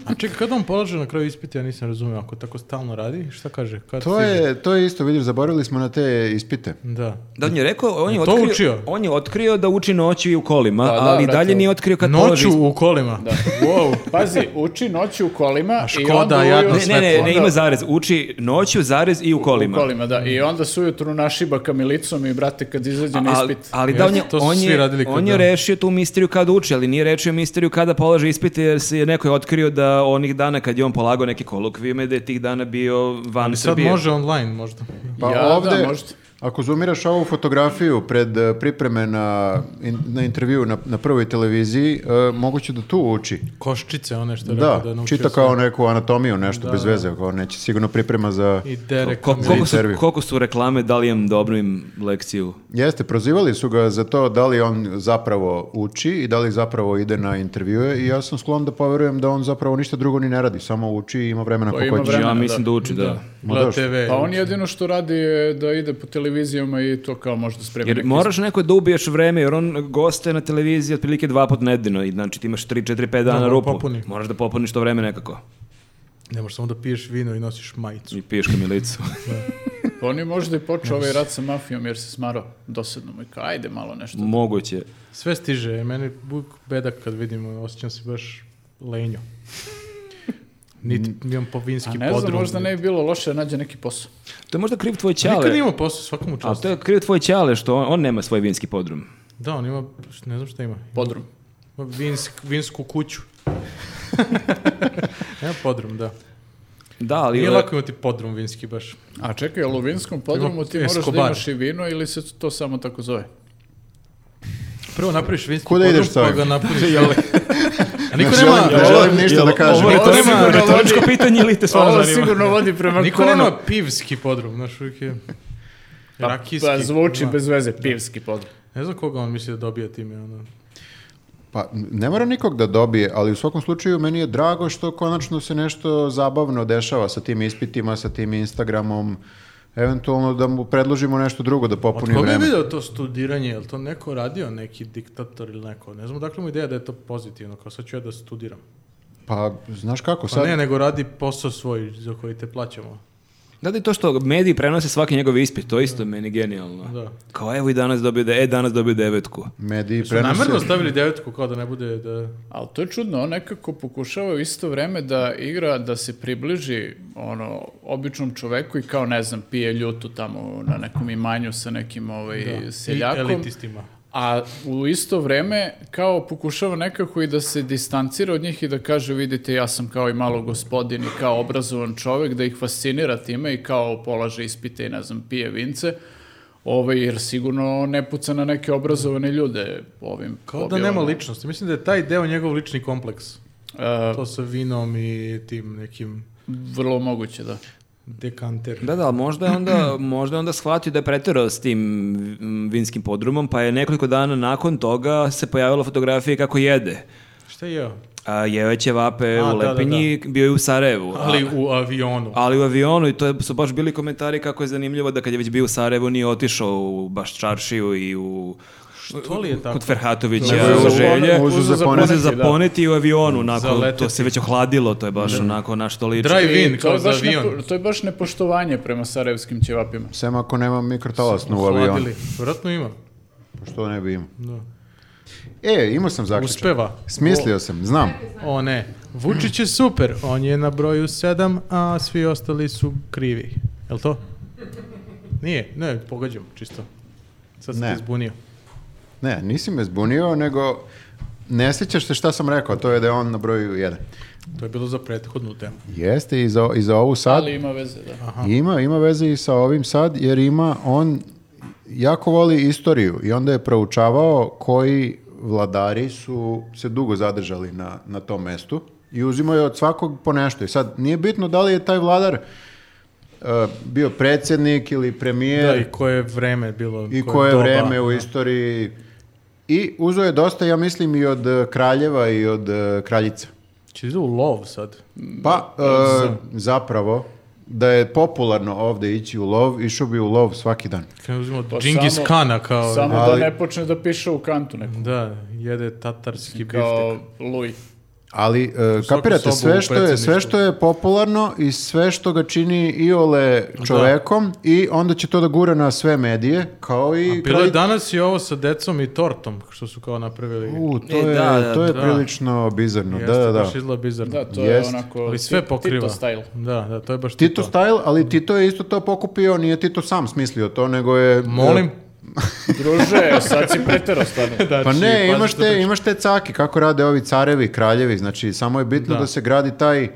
A čekaj, kada on polaže na kraju ispita, ja nisam razumio. Ako tako stalno radi, šta kaže? Kad
To
stiže?
je, to je isto, vidiš, zaboravili smo na te ispite.
Da.
Da, on je rekao, on je,
to
otkrio,
učio?
on je otkrio da uči noću i u kolima,
da,
ali
brate.
dalje nije otkrio kad polaže
Noću
ispit.
u kolima.
Wow. Pazi, uči noću u kolima i
Škoda,
onda...
jadno
ujutru-
Ne, ne, ne, ne,
onda-
ima zarez. Uči noću, zarez i u kolima.
U kolima, da. I onda se ujutru našiba kamilicom i, brate, kad izađe na
Ali,
ispit...
ali da, on je,
Jeste, to su
on
svi radili
je,
kod
on je
nas.
rešio tu misteriju kada uči, ali nije rešio misteriju kada polaže ispite, jer se je neko je otkrio da onih dana kad je on polagao neke kolokvijume, da je tih dana bio van
Sad
Srbije.
može online možda.
Pa
Ja, da,
ovdje,
možda.
Ako zoomiraš ovu fotografiju pred e, pripreme na, in- na intervju na, na prvoj televiziji, e, moguće da tu uči.
Koščice, one što je
Da,
rekao da naučio
čita
sve.
kao neku anatomiju, nešto bez veze, kao neće sigurno priprema za...
I derek.
Ko-
Za
koliko, su,
intervju.
koliko su reklame, da li im dobro im lekciju?
Jeste, prozivali su ga za to da li on zapravo uči i da li zapravo ide na intervjue i ja sam sklon da poverujem da on zapravo ništa drugo ni ne radi, samo uči i ima vremena
Pa
kako
ima
hoće.
vremena.
Znači, ja
Da,
mislim da,
da.
uči, da.
Gleda
daš.
TV.
Pa on jedino što radi je da ide po televizijama i to kao možda spremi
Jer
neki
moraš neko da ubiješ vreme, jer on goste na televiziji otprilike dva pot nedeljno i znači ti imaš 3, 4, 5 dana
mora
rupu.
popuni.
Moraš da popuniš to vreme nekako.
Ne možeš samo da piješ vino i nosiš majicu.
I piješ kamilicu.
Pa On je možda i počeo ovaj rat sa mafijom jer se smarao dosadno mu i kao, ajde malo nešto.
Moguće.
Sve stiže. Meni buk bedak kad vidim, osjećam se baš lenjo. Niti imam povinski
A
podrum.
ne znam, možda ne bi bilo loše da nađe neki posao.
To je možda kriv tvoj ćale.
Nikad nije imao posao, svakom
A
čast.
to je kriv tvoj ćale što on, on nema svoj vinski podrum.
Da, on ima, ne znam šta ima.
Podrum.
Ima vinsk, vinsku kuću. Nema podrum, da.
Da, ali...
Nije
e,
lako imati podrum vinski baš.
A čekaj, jel u vinskom podrumu ti moraš da
Escobar.
imaš i vino ili se to samo tako zove?
Prvo napraviš vinski
Kuda
podrum,
ideš sa
pa
ovim?
ga napuniš. A niko
Ne
nema,
želim- ne želim ništa da kažem.
Ovo je
Ovo
retoričko,
sigurno
retoričko pitanje ili te stvarno
Ovo
zanima?
sigurno vodi prema
niko
konu.
nema pivski podrum, znaš, uvijek je rakijski.
Pa zvuči
Da.
bez veze, pivski podrum.
Ne znam koga on misli da dobija time, ono.
Pa ne mora nikog da dobije, ali u svakom slučaju meni je drago što konačno se nešto zabavno dešava sa tim ispitima, sa tim Instagramom, eventualno da mu predložimo nešto drugo da
Od
popuni
koga je
vreme.
video to studiranje? Je li to neko radio, neki diktator ili neko? Ne znam, dakle mu ideja da je to pozitivno, kao sad ću ja da studiram.
Pa znaš kako,
Pa
sad
ne, nego radi posao svoj za koji te plaćamo.
Da li to što mediji prenose svaki njegov ispit, to isto je meni genijalno.
Da.
Kao evo i danas dobio, de, e danas dobio devetku.
mediji
Su
prenose...
namjerno stavili devetku kao da ne bude da...
Ali to je čudno, on nekako pokušava u isto vreme da igra, da se približi ono, običnom čoveku i kao, ne znam, pije ljutu tamo na nekom imanju sa nekim ovaj, seljakom.
I elitistima.
A u isto vreme kao pokušava nekako i da se distancira od njih i da kaže vidite ja sam kao i malo gospodin i kao obrazovan čovek da ih fascinira time i kao polaže ispite i ne znam pije vince. Ovaj, jer sigurno ne puca na neke obrazovane ljude ovim
Kao da
objavama.
nema ličnosti. Mislim da je taj deo njegov lični kompleks.
E,
To sa vinom i tim nekim
vrlo moguće, da.
dekanter.
Da, da, ali možda je onda, možda je onda shvatio da je preterao s tim mm, vinskim podrumom, pa je nekoliko dana nakon toga se pojavila fotografija kako jede.
Šta je jeo?
A, jeo je ćevape
A, da,
u
da, da.
Lepinji, bio je u Sarajevu.
Ali
A-
u avionu.
ali u avionu i to je- su baš bili komentari kako je zanimljivo da kad je već bio u Sarajevu nije otišao u baš čaršiju i u
Što li je tako?
kod Ferhatovića
Nego je
u
uzeo
želje.
pone- uzeo za
Može
poneti,
zaponeti i u avionu, onako,
Zaleteti.
to se već ohladilo, to je baš onako na što liči.
Drive
I
in,
to,
kao
je
za
baš
avion.
nepo- to je baš nepoštovanje prema sarajevskim ćevapima.
Sem ako nema mikrotalasnu u avionu, Pa
Hladili. Vratno ima.
što ne bi imao.
Da.
E, imao sam zaključak.
Uspeva.
Smislio sam, znam.
O ne. Vučić je super. On je na broju 7, a svi ostali su krivi. Je li to? Nije. Ne, pogađam čisto. Sad sam
Ne.
ti zbunio.
Ne, nisi me zbunio, nego ne sjećaš se šta sam rekao, to je da je on na broju 1.
To je bilo za prethodnu temu.
Jeste i za, i za ovu sad.
Ali ima veze, da.
Ima, ima veze i sa ovim sad, jer ima, on jako voli istoriju i onda je proučavao koji vladari su se dugo zadržali na, na tom mestu i uzimao je od svakog po nešto. I sad, nije bitno da li je taj vladar e, bio predsjednik ili
Da,
premijer
i koje je vreme bilo.
i koje
doba.
vreme u istoriji. I uzeo je dosta, ja mislim, i od e, kraljeva i od e, kraljica.
Či idu u lov sad.
Pa, e, zapravo, da je popularno ovde ići u lov, išao bi u lov svaki dan.
Kad ne uzmemo
Pa
Džingis
samo-
Kana kao...
Samo
ali-
da ne počne da piše u kantu neku.
Da, jede tatarski biftek.
Kao Louis.
Ali, e, kapirate,
sobu u
sve što, je, sve
predsjedništvu.
što je popularno i sve što ga čini iole čovekom i onda će to da gura na sve medije, kao i...
Bilo je
kralji-
danas i ovo sa decom i tortom, što su kao napravili.
U, to
E,
je,
da, da,
to je
da.
prilično bizarno,
Jeste,
da, da, da.
baš izgleda bizarno.
Da, to
Jest.
je onako
Ali sve
ti-
pokriva.
Tito style.
Da, da, to je baš
Tito style, ali Tito je isto to pokupio, nije Tito sam smislio to, nego je...
Molim.
Druže, sad si pretero stvarno.
Pa ne,
pazi
imaš
to
te, imaš te caki, kako rade ovi carevi, kraljevi, znači samo je znači, bitno da,
Da.
se gradi taj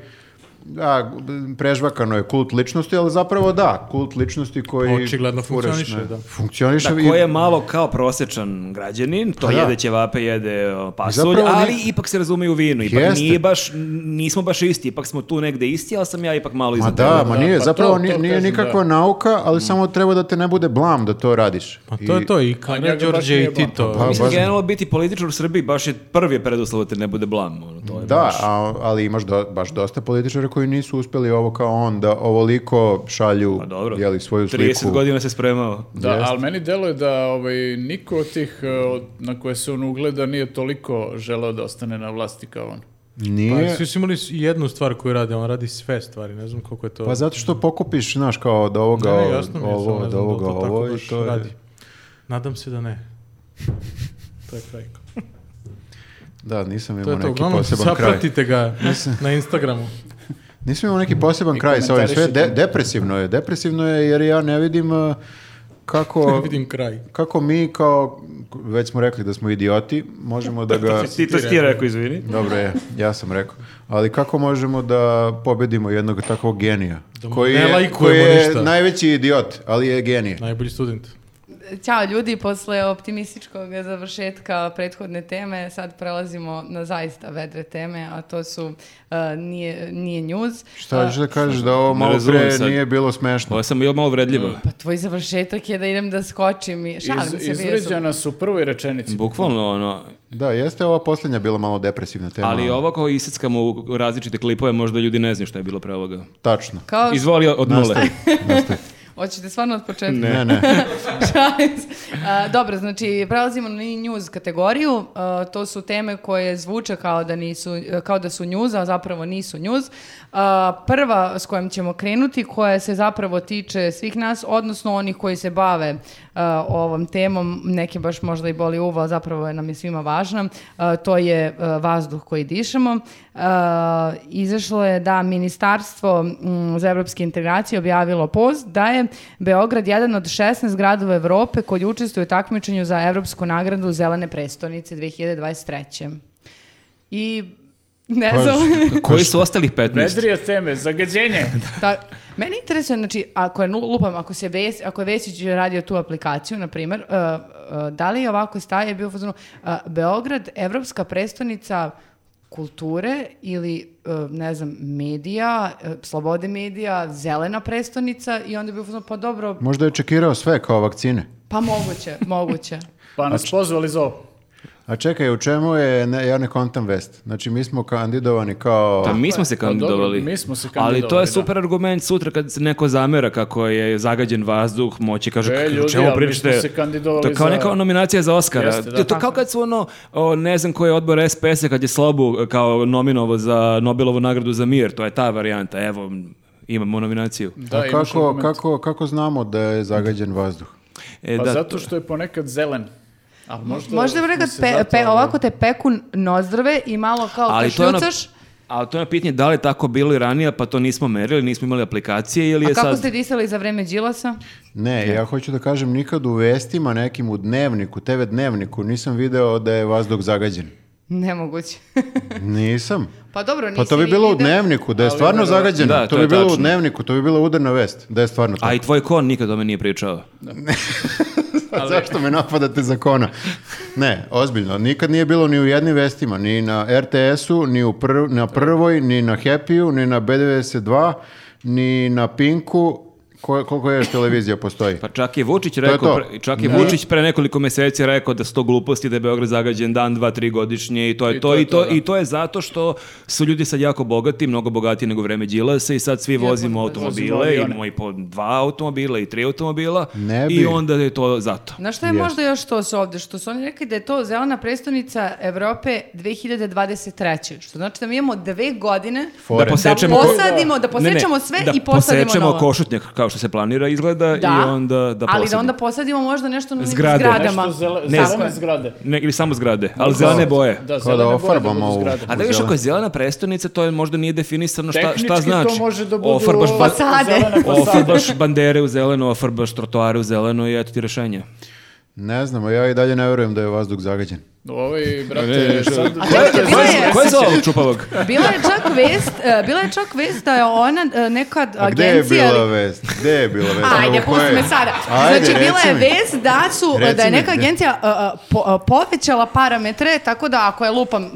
da, prežvakano je kult ličnosti, ali zapravo da, kult ličnosti koji...
Očigledno
furaš,
funkcioniše,
ne?
da.
Funkcioniše
Da,
i-
ko je malo kao prosečan građanin, to
Pa da.
jede ćevape, jede o, pasulj,
Zapravo
ali
nek-
ipak se razumeju u vinu. Ipak
Jeste.
nije baš, nismo baš isti, ipak smo tu negde isti, ali sam ja ipak malo
Ma
iznad.
da,
tebe.
ma nije,
pa
zapravo
to-
nije,
to
nije
kažem,
nikakva nauka, ali samo treba da te ne bude blam da to radiš.
Pa to je to i
njega baš
Karadžorđe
nije
i Tito.
Pa,
Mislim,
baš-
generalno biti političar u Srbiji baš je prvi preduslov da te ne bude blam. Ono, to je
Da,
baš-
a, ali imaš do- baš dosta političara koji nisu uspeli ovo kao on, da ovoliko šalju
Pa dobro,
jeli, svoju
30
sliku.
godina se spremao.
Da,
Jeste.
ali meni deluje da ovaj, niko od tih e, od- na koje se on ugleda nije toliko želeo da ostane na vlasti kao on.
Nije,
Pa Svi su imali s- jednu stvar koju rade, on radi sve stvari, ne znam koliko je to...
pa zato što pokupiš, znaš, kao od ovoga,
Ne, ne, jasno mi je, samo
ovo,
ne
od
znam da li
ovoga,
to tako
ovo,
baš
i to je...
radi. Nadam se da ne. To je kraj.
Da, nisam
To
imao
je to,
neki
uglavnom
poseban kraj.
zapratite ga na Instagramu.
Nisam imao neki poseban kraj sa ovim, sve de- depresivno je, depresivno je jer ja ne vidim uh, kako...
Ne vidim kraj.
Kako mi kao, već smo rekli da smo idioti, možemo da ga...
Ti to si ti rekao, izvini.
Dobro je, ja sam rekao. Ali kako možemo da pobedimo jednog takvog genija?
mu
koji
ne
je,
lajkujemo
koji je
ništa.
najveći idiot, ali je genije.
Najbolji student.
Ćao ljudi, posle optimističkog završetka prethodne teme sad prelazimo na zaista vedre teme, a to su e, nije, nije njuz. E,
Šta ćeš da kažeš da ovo malo
razumem
pre
sad.
nije bilo smešno?
Ovo sam bio malo vredljivo.
Pa tvoj završetak je da idem da skočim i šalim
Iz,
se. bio sam-
izvređana su u prvoj rečenici.
Bukvalno ono,
Da, jeste ova posljednja bila malo depresivna tema.
ali ovo kao iseckamo u različite klipove, možda ljudi ne znaju šta je bilo pre ovoga.
Tačno.
Kao što-
Izvoli od nule.
Hoćete stvarno od početka?
Ne, ne.
Šalim se. A, dobro, znači prelazimo na news kategoriju. A, to su teme koje zvuče kao da nisu kao da su news, a zapravo nisu news. A, prva s kojom ćemo krenuti, koja se zapravo tiče svih nas, odnosno onih koji se bave a, eh, ovom temom, neke baš možda i boli uva, zapravo je nam je svima važna, a, to je a, vazduh koji dišemo. A, izašlo je da Ministarstvo mm, za evropske integracije objavilo post da je Beograd jedan od 16 gradova Evrope koji učestvuju u takmičenju za evropsku nagradu Zelene prestonice 2023. I ne znam...
Koji su ostalih 15?
Vedrije teme, zagađenje.
Ta, mene interesuje, znači, ako je, nu- lupam, ako, se Ves, ako je Vesić radio tu aplikaciju, na primjer, e, e, da li je ovako staje bio u fazonu, e, Beograd, evropska prestonica kulture ili, e, ne znam, medija, e, slobode medija, zelena prestonica i onda je bio u fazonu, pa dobro,
Možda je čekirao sve kao vakcine.
pa moguće, moguće.
Pa nas pozvali za ovo.
A čekaj, u čemu je, ne, ja ne kontam vest. Znači, mi smo kandidovani kao...
Pa mi smo se
Pa dobro,
kandidovali.
mi smo se
Ali to je
kandidovali,
super argument sutra kad se neko zamera kako je zagađen vazduh, moći kaže
E,
e,
ljudi,
čemu
ali mi
pričate.
smo se kandidovali
To je kao
za-
neka nominacija za Oscara.
Jeste, da.
to, to kao kad su ono o, ne znam koji je odbor SPS-a kad je Slobu e, kao nominovo za Nobelovu nagradu za mir, to je ta varijanta. Evo imamo nominaciju.
Da,
A
imaš
kako,
argument.
kako, kako znamo da je zagađen vazduh?
E,
Pa
da,
zato što je ponekad zelen. A možda,
Možda bi
smo
rekao,
se
pe,
zato,
pe,
ono,
ovako te peku nozdrve i malo kao
Ali to je ono-
kašljucaš,
Ali to je pitanje da li je tako bilo i ranije, pa to nismo merili, nismo imali aplikacije ili
a
je
kako
sad...
ste disali za vreme Đilasa?
Ne, ja hoću da kažem, nikad u vestima nekim u dnevniku, TV dnevniku, nisam video da je vazduh zagađen.
Nemoguće.
Nisam.
pa dobro, nisi
Pa to bi
ni
bilo u
video.
dnevniku, da je
Ali
stvarno
ono-
zagađen.
Da,
to
to
bi
je
bilo u
tačno.
dnevniku, to bi bila udarna vest, da je stvarno
A
tako.
i tvoj kon nikad o me nije pričao.
Pa Zašto me napadate za kona? Ne, ozbiljno, nikad nije bilo ni u jednim vestima, ni na RTS-u, ni u prv- na Prvoj, ni na Happy-u, ni na B92, ni na Pinku, Ko- koliko još televizija postoji?
Pa čak je Vučić
je
rekao,
to.
pre- čak je Vučić pre nekoliko meseci rekao da sto gluposti da je Beograd zagađen dan, dva, tri godišnje i to je to, i, to,
da.
i to je zato što su ljudi sad jako bogati, mnogo bogatiji nego vreme Đilasa i sad svi vozimo automobile,
avione.
imamo i po dva automobila i tri automobila
Ne bi.
i onda je to zato.
Znaš šta je možda još to s ovde? Što su oni rekli da je to zelena prestonica Evrope 2023. Što znači da mi imamo dve godine
Fore.
Da posečemo, ko-
posadimo, da
Ne, ne,
posjećamo sve
da
i posadimo
posečemo
novo.
košutnjak kao što se planira izgleda i onda da
ali da
posadimo.
onda posadimo možda nešto na nekim
Zgrade.
zgradama.
Nešto zele,
Ne,
zelene
zna-
zgrade.
Ne, ili samo zgrade, ali zelene boje.
Da,
Kao da
zelene boje
ofarbamo
budu
ovu-
zgrade.
A da još ako je zelena prestonica, to je možda nije definisano šta, šta
Tehnički
znači.
to može da budu
Ofarbaš
ovo-
ba-
Fasade.
zelene fasade.
Ofarbaš bandere u zeleno, ofarbaš trotoare u zeleno i eto ti rešenje.
Ne znamo, ja i dalje ne verujem da je vazduh zagađen.
Ovaj,
Ne, ne,
brate, sad...
A čekajte, bila je,
Ko je za ovog čupavog?
bila je čak vest, e, bila je čak vest da je ona e, neka
A gde je
agencija...
bila vest? Gde je bila vest?
Ajde,
Evo, ko
pusti
je?
me sada.
Ajde,
znači, bila
reci
je
mi.
vest da su,
Reci
da je
mi,
neka
gde?
agencija a, a, po- a, povećala parametre, tako da ako je lupam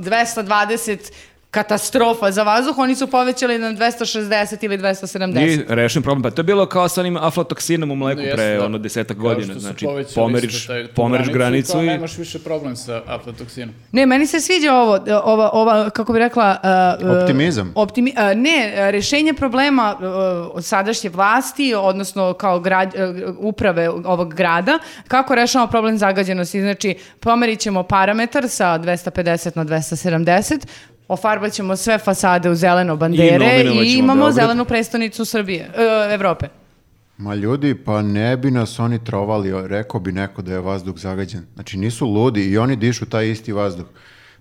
220 katastrofa za vazduh, oni su povećali na 260 ili 270.
I rešen problem. Pa to je bilo kao sa onim aflatoksinom u mleku
No, jeste,
pre
da.
ono desetak
Kao
godina.
što su
Znači,
povećali
pomeriš,
isto taj- tu
pomeriš granicu,
i... kao
i...
Nemaš više problem sa aflatoksinom.
Ne, meni se sviđa ovo, e, ova, ova kako bi rekla... e, e,
Optimizam.
optimi- e, ne, e, rešenje problema e, od sadašnje vlasti, odnosno kao grad, e, uprave ovog grada, kako rešavamo problem zagađenosti. Znači, pomerit ćemo parametar sa 250 na 270, ofarbat ćemo sve fasade u zeleno bandere
nominovat
i,
ćemo
imamo
Beograd.
zelenu prestonicu Srbije, e, Evrope.
Ma ljudi, pa ne bi nas oni trovali, o, rekao bi neko da je vazduh zagađen. Znači nisu ludi i oni dišu taj isti vazduh.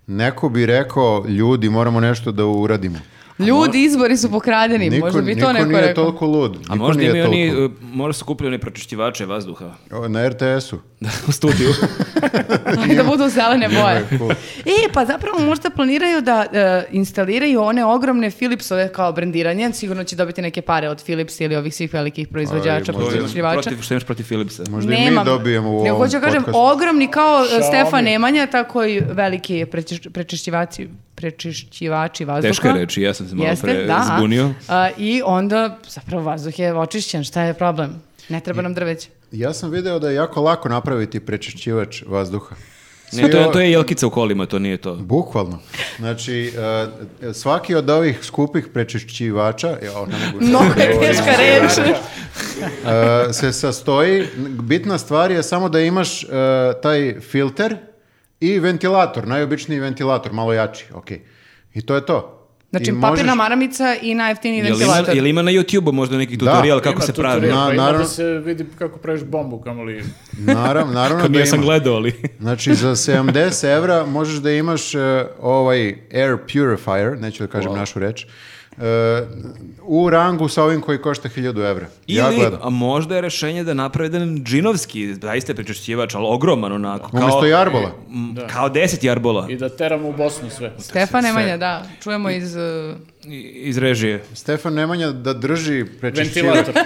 Neko bi rekao, ljudi, moramo nešto da uradimo.
Ljudi, izbori su pokradeni, možda bi
niko
to neko
nije
rekao.
toliko lud.
A
niko
možda
nije
imaju oni,
toliko.
uh, možda su kupili oni pročišćivače vazduha
O, Na RTS-u.
u studiju.
da budu zelene boje.
Cool.
E, pa zapravo možda planiraju da e, instaliraju one ogromne Philipsove kao brandiranje, sigurno će dobiti neke pare od Philips ili ovih svih velikih
možda-
proizvođača, proizvođača.
protiv, što imaš protiv Philipsa?
Možda i mi dobijemo u ovom
hoću da kažem,
podcastu.
ogromni kao e,
Xiaomi.
Stefan Nemanja, tako i veliki prečiš- prečišćivači, prečišćivači vazduha.
Teška je reč, i ja sam se malo
Jeste,
pre
da.
zbunio.
A, I onda zapravo vazduh je očišćen, šta je problem? Ne treba nam drveće.
Ja sam video da je jako lako napraviti prečišćivač vazduha.
Ne, to,
Svi o-
je, to je jelkica u kolima, to nije to.
Bukvalno. Znači, e, svaki od ovih skupih prečišćivača, ja, ne mogu
Mnogo je
govorim.
teška reč.
E, se sastoji, bitna stvar je samo da imaš e, taj filter i ventilator, najobičniji ventilator, malo jači, ok. I to je to.
Znači,
I
papirna
možeš-
maramica i najjeftiniji
Jel ima,
ventilator.
jel ima na YouTube-u možda neki
Da,
tutorial kako
Ima
se pravi?
tutorial,
Na-
pa ima
naravno-
da se vidi kako praviš bombu, kamoli.
Naravno, naravno da
Ako nije sam
ima.
gledao, ali...
Znači, za 70 evra možeš da imaš e, ovaj air purifier, neću da kažem našu reč, e, u rangu sa ovim koji košta 1000 evra.
Ili,
ja gledam.
a možda je rešenje da napravi jedan džinovski, zaista prečišćivač, ali ogroman onako. Kao,
Umesto jarbola.
M, Kao deset jarbola
I da teramo u Bosnu sve.
Stefan Nemanja, da. Čujemo iz... uh,
i- iz režije.
Stefan Nemanja da drži prečišćivač.
Ventilator.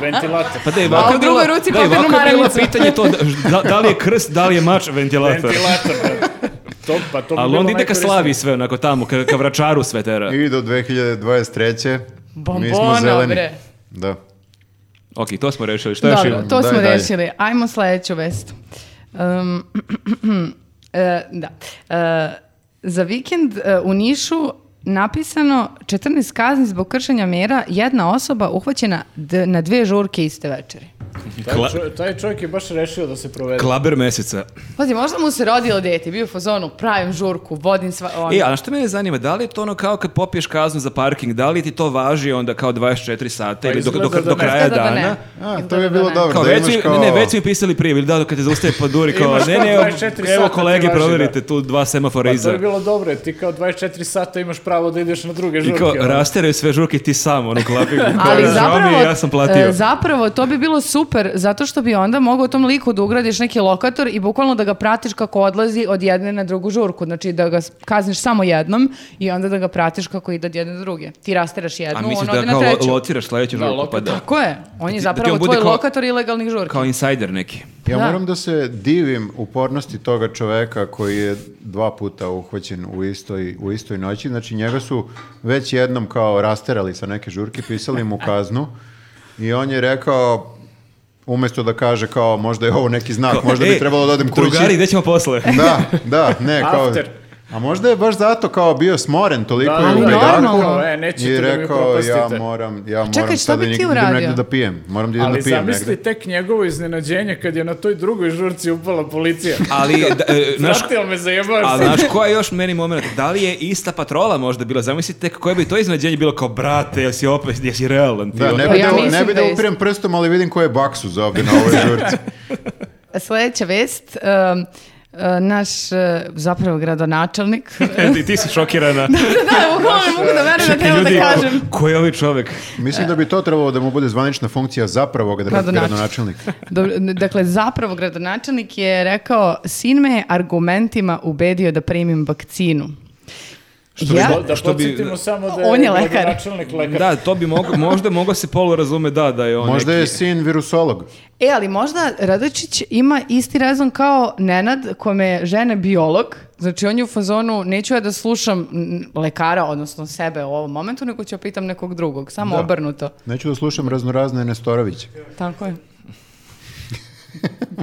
Ventilator.
Pa da je
A
ovako
u drugoj
bila-
ruci
da je
papirnu
ovako bilo
maramicu.
pitanje to, da- da, da li je krst, da li je mač, ventilator.
Ventilator, da. To, pa to bi
Ali
bilo
onda ide ka
najkorisnije.
slavi sve onako tamo, ka, ka vračaru sve tera.
I do 2023. mi smo
Bombona,
zeleni.
bre.
Da.
Ok, to smo rešili, šta je još
e, Dobro,
imamo?
to
Daj
smo
dalje.
rešili. Ajmo sledeću vest. Um, e, da. E, za vikend e, u Nišu napisano 14 kazni zbog kršenja mjera, jedna osoba uhvaćena d- na dve žurke iste večeri.
Taj, čo, taj čovjek je baš rešio da se provede.
Klaber meseca.
Pazi, možda mu se rodilo dete, bio u fazonu, pravim žurku, vodim sva... ono.
E, a što mene zanima, da li je to ono kao kad popiješ kaznu za parking, da li ti to važi onda kao 24 sata
Pa
ili do, do,
izgleda
do
da ne.
kraja
Izgleda da
dana?
ne.
A, to
Izgleda
bi
da
bilo
ne.
dobro
Kao,
da
već,
imaš
su-
kao...
Ne, već su mi pisali prije, ili da, kad te zaustave pa duri, kao,
Imaš
ne, ne,
24
evo
sata ti
kolege,
važi,
proverite, tu dva semafora
Pa to
iza.
je bilo dobro, jer ti kao 24 sata imaš pravo da ideš na druge
I
žurke.
kao,
ono.
rasteraju sve žurke i ti sam, ono, klapi.
Ali zapravo,
ja sam platio.
e, zapravo to bi bilo super, zato što bi onda mogao tom liku da ugradiš neki lokator i bukvalno da ga pratiš kako odlazi od jedne na drugu žurku. Znači da ga s- kazniš samo jednom i onda da ga pratiš kako ide od jedne do druge. Ti rasteraš
A
jednu, on
misliš
ode
da
na
kao
treću.
lo- lociraš sledeću
Da,
žurku, pa
lokator.
da.
Tako je. On je
ti
zapravo
on bude
tvoj
kao-
lokator ilegalnih žurki.
Kao insider neki.
Ja
Da.
moram da se divim upornosti toga čoveka koji je dva puta uhvaćen u istoj, u istoj noći. Znači njega su već jednom kao rasterali sa neke žurke, pisali mu kaznu i on je rekao umjesto da kaže kao možda je ovo neki znak, možda bi
Ej,
trebalo da odem kući.
Drugari, E, gde ćemo posle?
Da, da, ne, kao...
After.
A možda je baš zato kao bio smoren toliko
Da,
je
ali
u bedaku
normalno.
E, nećete
i
da mi
rekao
upropastite.
ja moram, ja moram
čekaj, šta
sada
bi ti
negdje- idem
uradio?
negdje da pijem. Moram da idem
Ali
da pijem
zamisli
negdje.
tek njegovo iznenađenje kad je na toj drugoj žurci upala policija.
Ali, da, e, znaš,
Vratio me zajebao
A
sam.
znaš koja je još meni moment? Da li je ista patrola možda bila? Zamislite koje bi to iznenađenje bilo kao brate, jesi opet, jesi realan ti.
Da, ne
Pa
bi,
ja
da, ne
mislim
bi
da
da
je-
upirem prstom, ali vidim ko je baksuz ovdje na ovoj žurci.
Sljedeća vest. e, naš, e, zapravo, gradonačelnik.
ono,
ti, ti si šokirana.
da, bukvalno ne mogu da verujem da treba da kažem.
ko je ovaj čovek?
Mislim da bi to trebalo da mu bude zvanična funkcija zapravo
Gradonačelnik.
gradonačelnik.
Dobro, n- dakle, zapravo gradonačelnik je rekao, sin me je argumentima ubedio da primim vakcinu. ja?
Da, da
Što bi-
podsjetimo samo da je,
On je lekar.
gradonačelnik lekar.
Da, to bi mogo, možda mogao se polu razume, da, da je on
Možda
neki...
je sin virusolog.
E, ali možda Radočić ima isti razum kao Nenad, kome je žena biolog. Znači, on je u fazonu, neću ja da slušam mm, lekara, odnosno sebe u ovom momentu, nego ću ja pitam nekog drugog. Samo
Da.
obrnuto.
Neću da slušam raznorazne Nestoroviće.
Tako je.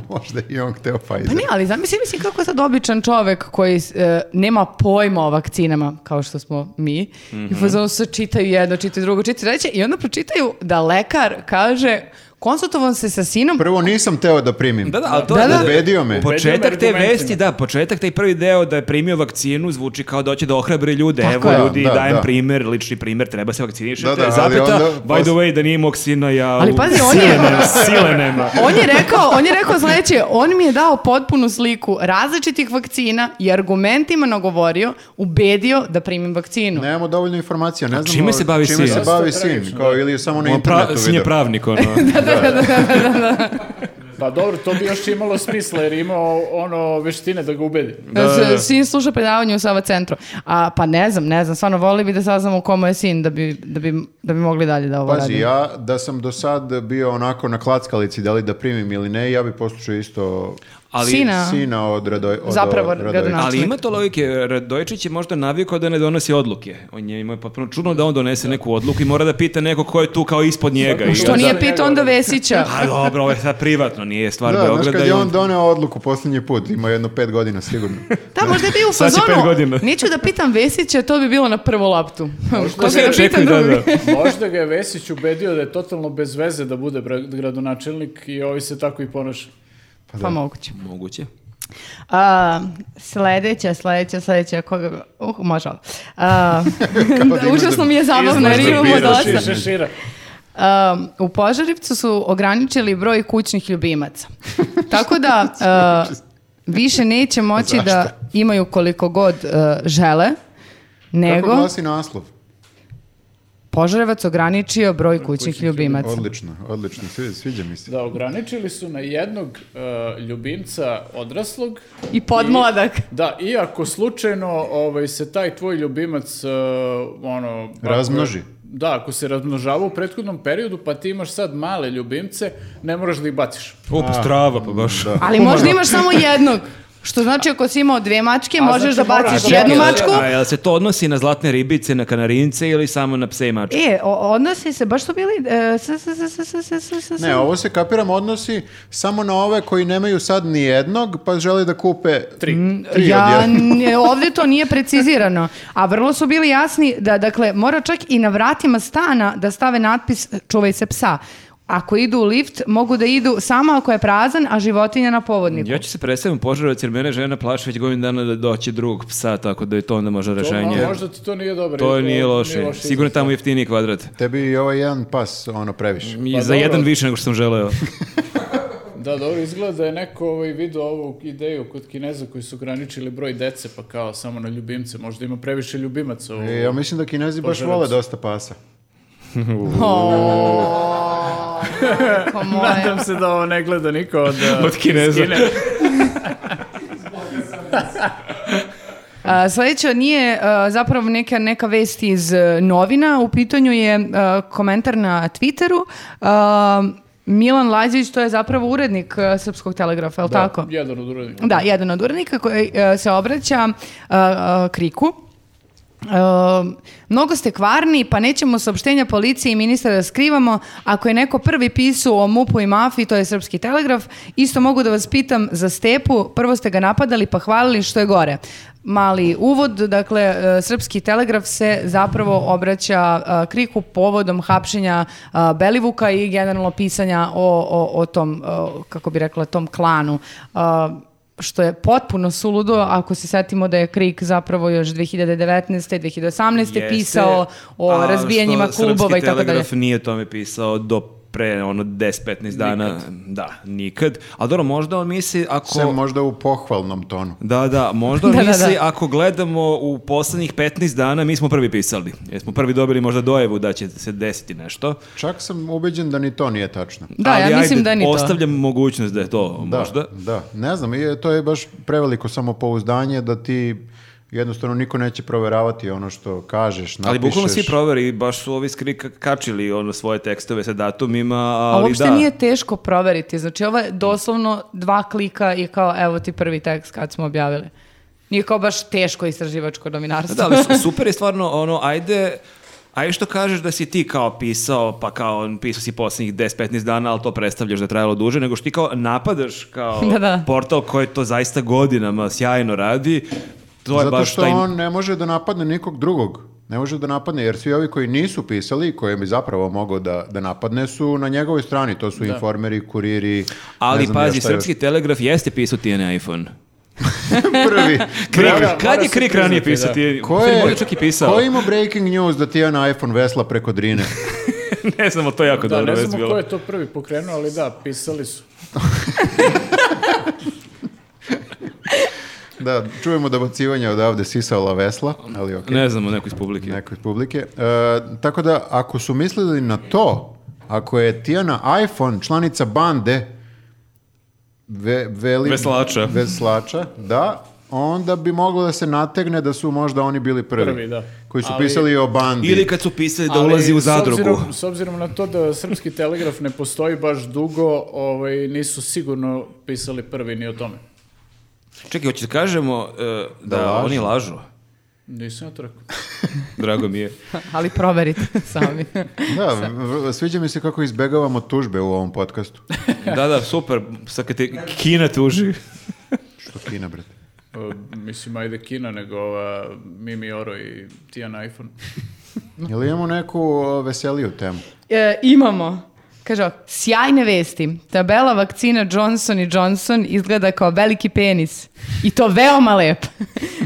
Možda je i on hteo Pfizer.
Pa ne, ali zamisli mislim kako sad običan čovek koji e, nema pojma o vakcinama, kao što smo mi, i u fazonu se čitaju jedno, čitaju drugo, čitaju treće, i onda pročitaju da lekar kaže, konsultovan se sa sinom,
Prvo nisam teo da primim.
Da, da, ali to
Da,
je...
da.
Ubedio me.
Početak te
argumentima.
vesti, da, početak, taj prvi deo da je primio vakcinu zvuči kao da hoće da ohrabri ljude.
Tako
Evo
je.
ljudi,
Da,
dajem
da.
primer, lični primer, treba se vakcinišati.
Da, da, ali
zapeta,
onda
by the
pos-
way, da nije mog sina, ja...
Ali
u-
pazi, on je-
Sile nema, sile nema.
On je rekao, on je rekao sledeće, on mi je dao potpunu sliku različitih vakcina i argumentima nagovorio, ubedio da primim vakcinu.
Nemamo dovoljno informacija, ne znamo
čime se bavi
čime
sin?
se
Dosta
bavi
tragično,
sin, kao ili je samo na
On pra,
internetu
sin je
video.
pravnik, ono.
Pa dobro, to bi još imalo smisla jer imao ono veštine da ga ubedi.
Da, se- Sin sluša predavanje u Sava centru. A, pa ne znam, ne znam, stvarno volili bi da saznamo komu je sin da bi, da bi, da bi mogli dalje da ovo
Pazi,
radimo.
ja da sam do sad bio onako na klackalici, da li da primim ili ne, ja bi poslušao isto
Ali,
Sina.
sina od Radoj... Od
Zapravo,
od Radojića.
gradonačelnik.
ali ima to logike, Radojičić je možda navikao da ne donosi odluke. On je imao potpuno čudno da on donese neku odluku i mora da pita neko ko je tu kao ispod njega. I
Što
onda-
nije
da.
pitao onda Vesića.
A dobro, ovo je sad privatno, nije stvar
Da,
Beograda.
znaš kad
i
je
on-
on doneo odluku posljednji put, ima jedno pet godina sigurno. Pa
Da, možda je bio u
Sad će pet godina.
fazonu. Neću da pitam Vesića, to bi bilo na prvu loptu.
To
Ko
se
će da pitam
očekuje, da,
drugi?
da.
Možda ga je Vesić ubedio da je totalno bez veze da bude bra- gradonačelnik i ovi se tako i ponaša.
Pa moguće.
Moguće.
A, sledeća, sledeća, sledeća, koga... Uh, može ovo. A,
imaš da-
užasno mi je zabavno, jer
Izlaš da
imamo
biraš,
dosta.
izlaš.
Šešira.
Um, u Požarevcu su ograničili broj kućnih ljubimaca. Tako da uh, više neće moći da imaju koliko god uh, žele, nego
Kako glasi naslov?
Požarevac ograničio broj kućnih ljubimaca.
Odlično, odlično, svi- sviđa mi se.
Da, ograničili su na jednog e, ljubimca odraslog.
I podmladak.
Da, i ako slučajno ovaj, se taj tvoj ljubimac e, ono... ako-
Razmnoži.
da, ako se razmnožava u prethodnom periodu, pa ti imaš sad male ljubimce, ne moraš da ih baciš.
O, pa strava, pa baš.
Ali možda imaš samo jednog. Što znači ako si imao dve mačke, možeš
znači
da
moraš
baciš
da-
jednu
Čekaj,
mačku.
A jel se to odnosi na zlatne ribice, na kanarince ili samo na pse i mačke?
E, o- odnosi se, baš su bili... e, s- s- s- s- s- s- s- s-
Ne, ovo se kapiram odnosi samo na ove koji nemaju sad ni jednog, pa žele da kupe tri, tri od
Ja,
jednog.
ne, ovdje to nije precizirano, a vrlo su bili jasni da, dakle, mora čak i na vratima stana da stave natpis čuvaj se psa. Ako idu u lift, mogu da idu samo ako je prazan, a životinja na povodniku.
Ja ću se predstaviti požarovac jer mene žena plaši već godinu dana da doći drugog psa, tako da je to onda možda
To,
rešenje.
a, možda ti to nije dobro.
To nije loše. Sigurno je tamo jeftiniji kvadrat.
Tebi je ovaj jedan pas ono previše.
I
Pa
za
dobro.
jedan više nego što sam želeo.
Da, dobro, izgleda da je neko ovaj, video ovu ideju kod Kineza koji su ograničili broj dece, pa kao samo na ljubimce, možda ima previše ljubimaca. u-
E, ja mislim da kinezi baš
Požarevac.
vole dosta pasa.
O, majko moja.
Nadam se da ovo ne gleda niko od, uh,
Od Kineza.
iz
A, sledeća nije a, zapravo neka, neka vest iz e, novina. U pitanju je a, komentar na Twitteru. A, Milan Lazić, to je zapravo urednik e, Srpskog telegrafa, je li tako?
Jedan od urednika.
Da, jedan od urednika koji e, se obraća e, e, Kriku. E, mnogo ste kvarni, pa nećemo saopštenja policije i ministra da skrivamo. Ako je neko prvi pisao o MUP-u i mafiji, to je Srpski telegraf. Isto mogu da vas pitam za Stepu. Prvo ste ga napadali pa hvalili što je gore. Mali uvod, dakle, e, Srpski telegraf se zapravo obraća e, kriku povodom hapšenja e, Belivuka i generalno pisanja o, o, o tom, e, kako bi rekla, tom klanu. E, što je potpuno suludo ako se setimo da je Krik zapravo još 2019. 2018.
Jeste,
pisao o
a
razbijanjima
što
klubova i tako
Srpski
dalje.
telegraf nije o tome pisao do
pre ono 10-15 dana. Da, nikad. A dobro, možda on misli ako...
Sem možda u pohvalnom tonu.
Da, da, možda
Da, da,
misli
da.
ako gledamo u poslednjih 15 dana, mi smo prvi pisali. Jer smo prvi dobili možda dojevu da će se desiti nešto.
Čak sam ubeđen da ni to nije tačno.
Da,
Ali
ja mislim
ajde,
da ni to.
Ostavljam mogućnost da je to
Da,
možda.
Da, ne znam, je, to je baš preveliko samopouzdanje da ti jednostavno niko neće proveravati ono što kažeš, napišeš.
Ali bukvalno svi proveri, baš su ovi skrika kačili ono svoje tekstove sa datumima, ali
A uopšte
da.
nije teško proveriti. Znači, ovo je doslovno dva klika i kao, evo ti prvi tekst kad smo objavili. Nije kao baš teško istraživačko
Da,
novinarstvo.
Pa Da, ali su- super je stvarno, ono, ajde, ajde što kažeš da si ti kao pisao, pa kao on, pisao si posljednjih 10-15 dana, ali to predstavljaš da je trajalo duže, nego što ti kao napadaš kao
Da, da.
portal koji to zaista godinama sjajno radi, to je
Zato
ovaj baš
što
taj...
on ne može da napadne nikog drugog. Ne može da napadne, jer svi ovi koji nisu pisali, koje bi zapravo mogao da, da napadne, su na njegovoj strani. To su informeri, kuriri, ne
Ali
znam
pazi,
ja šta još.
srpski telegraf jeste pisao ti na iPhone.
prvi.
Krik,
Mora- mora
kad je
se
Krik ranije
priznati,
pisao
da.
ti?
Ko je,
Možda čak i pisao.
ko je imao breaking news da ti je na iPhone vesla preko drine?
ne znamo, to je jako
Da,
dobro
ne
vest
znamo
bilo.
ko je to prvi pokrenuo, ali da, pisali su.
Da, čujemo dobacivanje odavde sisala vesla, ali okej.
Ne znamo, neko iz publike.
Neko iz publike. E, tako da, ako su mislili na to, ako je Tijana iPhone članica bande ve, veli,
Veslača.
veslača, da, onda bi moglo da se nategne da su možda oni bili prvi.
Prvi, da.
Koji su
Ali-
pisali o bandi.
Ili kad su pisali da
Ali
ulazi u
s
zadrugu.
Obzirom, s obzirom na to da srpski telegraf ne postoji baš dugo, ovaj, nisu sigurno pisali prvi ni o tome.
Čekaj, hoćete da kažemo e, da,
Da lažu.
oni lažu?
Nisam ja to rekao.
Drago mi je.
Ali proverite sami.
Da, v- v- sviđa mi se kako izbegavamo tužbe u ovom podcastu.
Da, da, super. Sad kad te Kina tuži.
Što kina, brate.
E, Mislim, ajde Kina, nego ova Mimi Oro i Tijan iPhone.
Jel imamo neku o, veseliju temu?
E, imamo. Kaže, ovako, sjajne vesti. Tabela vakcina Johnson i Johnson izgleda kao veliki penis. I to veoma lep.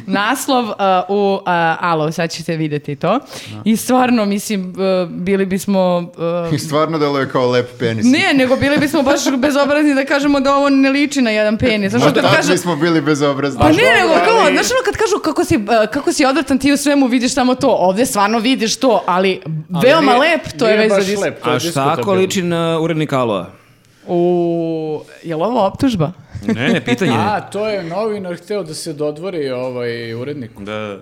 Naslov uh, u uh, Alo, sad ćete vidjeti to. I stvarno, mislim, uh, bili bismo... uh,
I stvarno deluje kao lep penis.
ne, nego bili bismo baš bezobrazni da kažemo da ovo ne liči na jedan penis. Znaš,
Možda
kad kažu,
tad smo bili bezobrazni.
pa ne, nego kao, znaš ono kad kažu kako si, uh, kako si odvratan, ti u svemu vidiš samo to. Ovdje stvarno vidiš to, ali, veoma
nije-
lep, to je
nije
već
baš
za dis-
lep, to je
A šta
diskutabilno.
ako liči na urednik Aloa?
U, je li ovo optužba?
Ne, ne, pitanje.
A, to je novinar hteo da se dodvori ovaj urednik.
Da.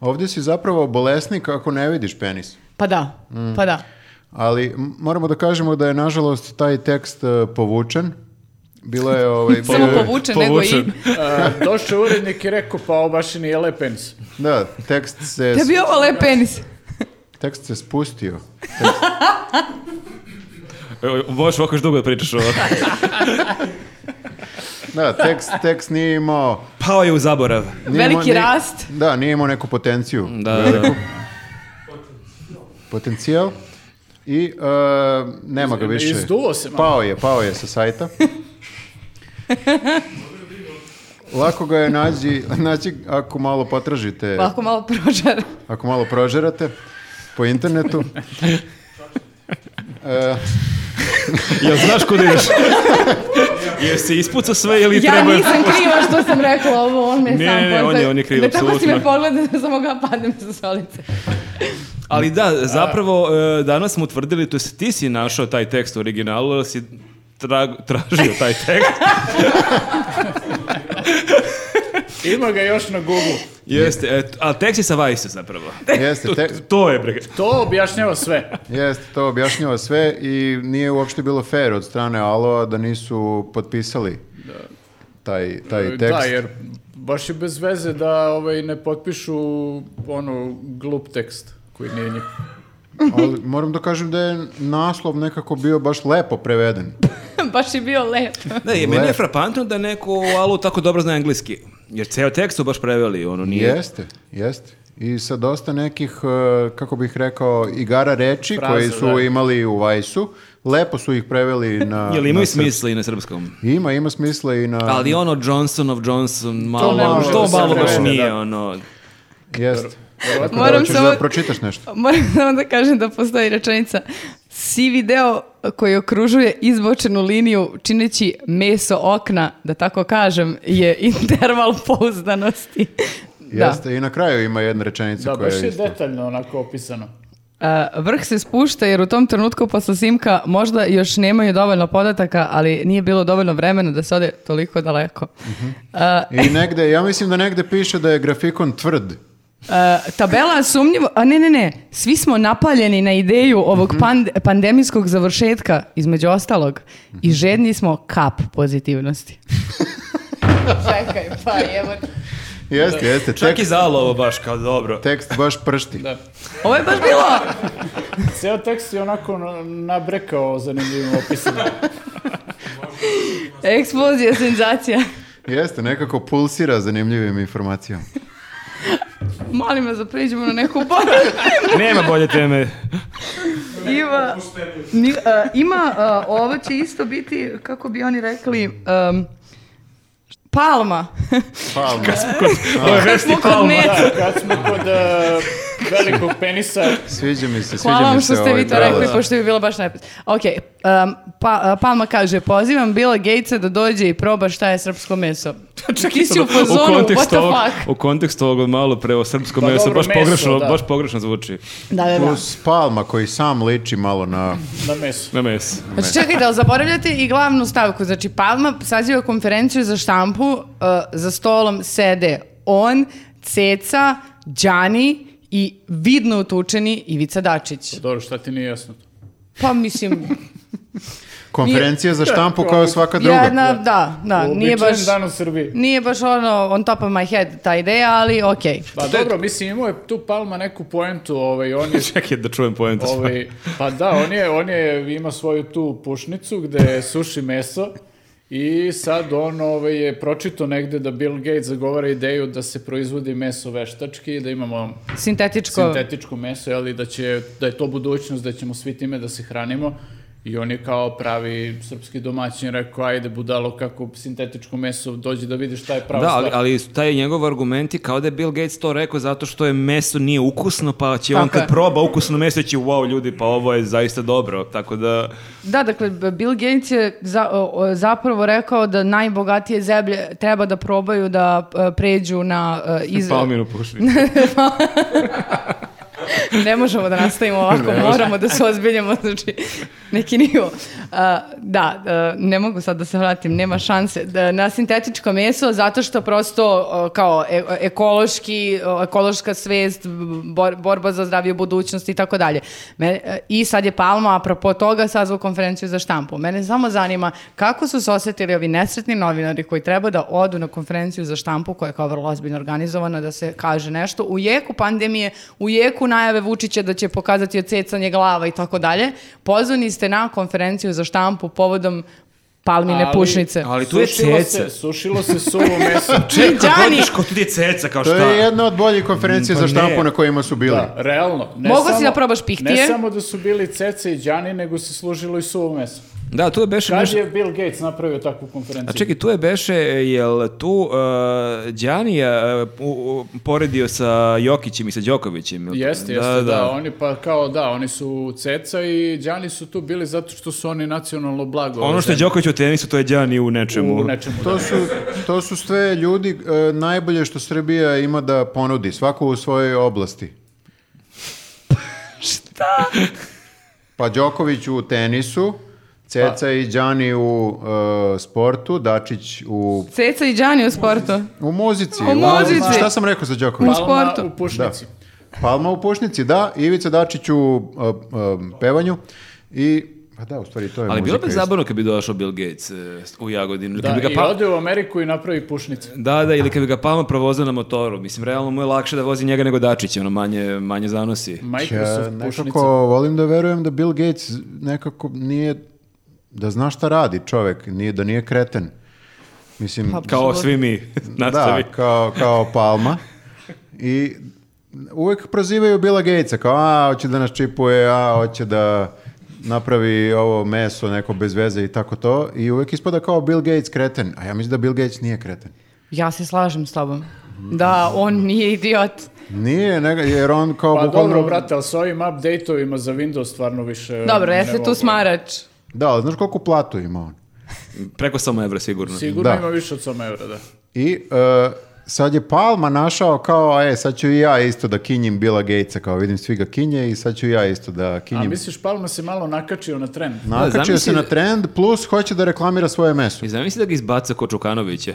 Ovdje si zapravo bolesnik ako ne vidiš penis.
Pa da,
Mm.
pa da.
Ali m- moramo da kažemo da je nažalost taj tekst e, povučen. Bilo je ovaj
Pa
Samo
bio je-
povučen, nego i...
povučen.
E, došao je urednik i rekao, pa ovo baš i nije lep penis.
Da, tekst se
Tebi je ovo lep penis.
E.
tekst se spustio.
Možeš ovako još dugo da pričaš ovo.
Da, tekst tekst nije imao
Pao je u zaborav.
nije
Veliki
nije-
rast.
Da, nije imao neku potenciju.
Da, da, da.
Potencijal. I e, nema ga više.
Izduo se malo.
Pao je, pao je sa sajta. Lako ga je naći, naći ako malo potražite.
Pa ako malo prožar.
Ako malo prožerate po internetu. E,
Jel znaš kuda ideš? Jel si ispucao sve ili
Ja
treba...
nisam kriva što sam rekla ovo, on me
Ne,
sam
ne, ne, on je- on je kriv,
Da tako si me
apsolutno.
pogleda da sam mogla padnem sa stolice.
Ali da, zapravo e, danas smo utvrdili, to jest ti si našao taj tekst u originalu, ali si tra- tražio taj tekst.
Ima ga još na Google.
Jeste, e, a tekst je sa Vajsa zapravo.
jeste,
To,
te-
to je brega.
To objašnjava sve.
jeste, to objašnjava sve i nije uopšte bilo fair od strane Aloa da nisu potpisali taj, taj Ovaj tekst.
E, Da, jer baš je bez veze da ovaj, ne potpišu ono glup tekst koji nije njih.
Ali moram da kažem da je naslov nekako bio baš lepo preveden.
Baš je bio lep.
Da, je, meni je
Lep.
frapantno da neko u Alu tako dobro zna engleski. Jer ceo tekst su baš preveli, ono nije.
Jeste, jeste. I sa dosta nekih, e, kako bih rekao, igara reči
Fraza,
koji su
da.
imali u Vajsu. Lepo su ih preveli na...
Jel imaju
na srpski.
smisla i na srpskom?
Ima, ima smisla i na...
Ali ono Johnson of Johnson, malo,
Pa, ne
malo,
može
to
da se
malo baš
prevede,
nije,
da.
ono...
Jeste.
Verovatno
Moram
Moram
hoćeš
samo-
da pročitaš nešto.
Moram samo da kažem da postoji rečenica sivi deo koji okružuje izbočenu liniju čineći meso okna, da tako kažem, je interval pouzdanosti. da.
Jeste, i na kraju ima jedna rečenica
Da,
koja
baš
je
je
isto.
detaljno onako opisano.
E, vrh se spušta jer u tom trenutku posle simka možda još nemaju dovoljno podataka, ali nije bilo dovoljno vremena da se ode toliko daleko. E,
I negde, ja mislim da negde piše da je grafikon tvrd.
Uh, tabela sumnjivo, a ne, ne, ne, svi smo napaljeni na ideju ovog pand- pandemijskog završetka, između ostalog, i žedni smo kap pozitivnosti. Čekaj, pa evo.
Jeste, jeste.
Čak i
Tekst,
zalo ovo baš kao dobro.
tekst baš pršti.
Ovo je baš bilo,
Ceo tekst je onako na- nabrekao zanimljivo opisano.
eksplozija, senzacija.
Jeste, nekako pulsira zanimljivim informacijama.
Molim vas da pređemo na neku bolju
Nema bolje teme.
Ima, ni- a, ima a, ovo će isto biti, kako bi oni rekli, em, palma.
Palma. Pa,
Kad smo kod meta.
Da, kad smo kod eh, velikog penisa,
Sviđa mi se, sviđa
Hvala vam
mi se
što ste
ovaj
vi to
prelaz.
rekli, pošto je bilo baš najpred. Ok, um, pa, uh, Palma kaže, pozivam Bila Gatesa da dođe i proba šta je srpsko meso. Ti si u fazonu, what the
ovog,
fuck?
u kontekstu ovog malo pre o srpskom
Pa
meso,
dobro,
baš,
meso,
pogrešno,
da.
baš pogrešno zvuči
Da, da, da.
Plus Palma koji sam liči malo na...
na mesu.
na meso.
Znači čekaj da zaboravljate i glavnu stavku. Znači Palma saziva konferenciju za štampu, uh, za stolom sede on, Ceca, Đani i vidno utučeni Ivica Dačić.
Dobro, šta ti nije jasno?
Pa mislim,
Konferencija za štampu kao svaka druga.
jedna, da, da, nije
Uobičajen
baš...
dan u Srbiji.
Nije baš ono on top of my head ta ideja, ali okej.
Pa dobro, mislim imao je tu Palma neku poentu, ovaj, on je
Čekaj da čujem pojentu. Ovi...
Ovaj, pa da, on je, on je ima svoju tu pušnicu gde suši meso i sad on ovaj, je pročito negde da Bill Gates zagovara ideju da se proizvodi meso veštački i da imamo
Pa
Sintetičko.
sintetičko meso, ali da, će, da je to budućnost, da ćemo svi time da se hranimo. I on je kao pravi srpski domaćin rekao, ajde budalo kako sintetičko meso, dođi da vidiš šta je pravo
Da, ali, ali taj njegov argument je kao da je Bill Gates to rekao zato što je meso nije ukusno, pa će on
Tako
kad
je.
proba ukusno meso će wow ljudi, pa ovo je zaista dobro. Tako da,
Da, dakle, B- Bill Gates je za- o- o- zapravo rekao da najbogatije zemlje treba da probaju da e, pređu na... e, Iz...
palminu pušni.
ne možemo da nastavimo ovako, moramo da se ozbiljamo, znači, neki nivo. A, da, e, ne mogu sad da se vratim, nema šanse. Da, na sintetičko meso, zato što prosto e, kao e- ekološki, e, ekološka svest, bor- borba za zdraviju budućnost i tako dalje. Me- e, I sad je Palma, apropo toga, sazvao konferenciju za štampu. Mene samo zanima kako su se osetili ovi nesretni novinari koji treba da odu na konferenciju za štampu koja je kao vrlo ozbiljno organizovana da se kaže nešto u jeku pandemije, u jeku najave Vučića da će pokazati ocecanje glava i tako dalje. Pozvani ste na konferenciju za štampu povodom palmine
Ali-
pušnice.
Ali tu je
Sušilo
ceca.
se, sušilo se suvo meso.
I Đani,
Godiš kod tu je ceca, kao
To
šta?
je jedna od boljih konferencija
Pa
za
ne.
štampu na kojima su bili.
Da, realno. Ne
Mogao si
samo-
da probaš pihtije.
Ne samo da su bili cece i džani, nego se služilo i suvo meso.
Da, tu je beše
Kad
nešto...
je Bill Gates napravio takvu konferenciju?
A čekaj, tu je beše, jel tu uh, Đani je uh, u- u- poredio sa Jokićem i sa Đokovićem? jel to?
Jeste, jeste, da, Oni pa kao da, oni su ceca i džani su tu bili zato što su oni nacionalno blago.
Ono što je Đoković u tenisu, to je Đani u nečemu.
u nečemu.
To su, to su sve ljudi e, najbolje što Srbija ima da ponudi, svako u svojoj oblasti. Šta? Pa Đoković u tenisu, Ceca i Đani u e, sportu, Dačić u,
Ceca i Đani u sportu.
u muzici.
U muzici.
Šta sam rekao za
U
Đoković?
Palma
sportu.
u pušnici.
Palma u pušnici, da, Ivica Dačić u e, e, pevanju i... Pa da, u stvari to je
Ali bilo
muzika
bi
isto.
zabavno kad bi došao Bill Gates e, u Jagodinu.
Da,
kad bi ga
i
pa-
ode u Ameriku i napravi pušnicu.
Da, da, ili kad bi ga Palma provozao na motoru. Mislim, realno mu je lakše da vozi njega nego Dačić, ono manje, manje zanosi.
Microsoft Pa
Ja
pušnica.
nekako volim da verujem da Bill Gates nekako nije, da zna šta radi čovek, nije, da nije kreten. Mislim,
Pa Kao svi mi.
da,
Nastavi.
kao, kao Palma. I uvek prozivaju Billa Gatesa, kao a, hoće da nas čipuje, a, hoće da napravi ovo meso neko bez veze i tako to. I uvek ispada kao Bill Gates kreten, a ja mislim da Bill Gates nije kreten.
Ja se slažem s tobom. da on nije idiot.
Nije, ne, jer on kao
Pa
bukvalno...
dobro, brate, ali s ovim update-ovima za Windows stvarno više...
Dobro,
ne
jeste
mogu.
tu smarač.
Da, ali znaš koliko platu ima on?
Preko samo evra sigurno.
Sigurno
Da.
ima više od 100 evra, da.
I e, sad je Palma našao kao, e, sad ću i ja isto da kinjim Billa Gatesa, kao vidim svi ga kinje i sad ću i ja isto da
A
kinjim.
misliš, Palma se malo nakačio na trend?
Nakačio
Da, zamisli-
se na trend, plus hoće da reklamira svoje meso.
I zamisli da ga izbaca ko Čukanovića.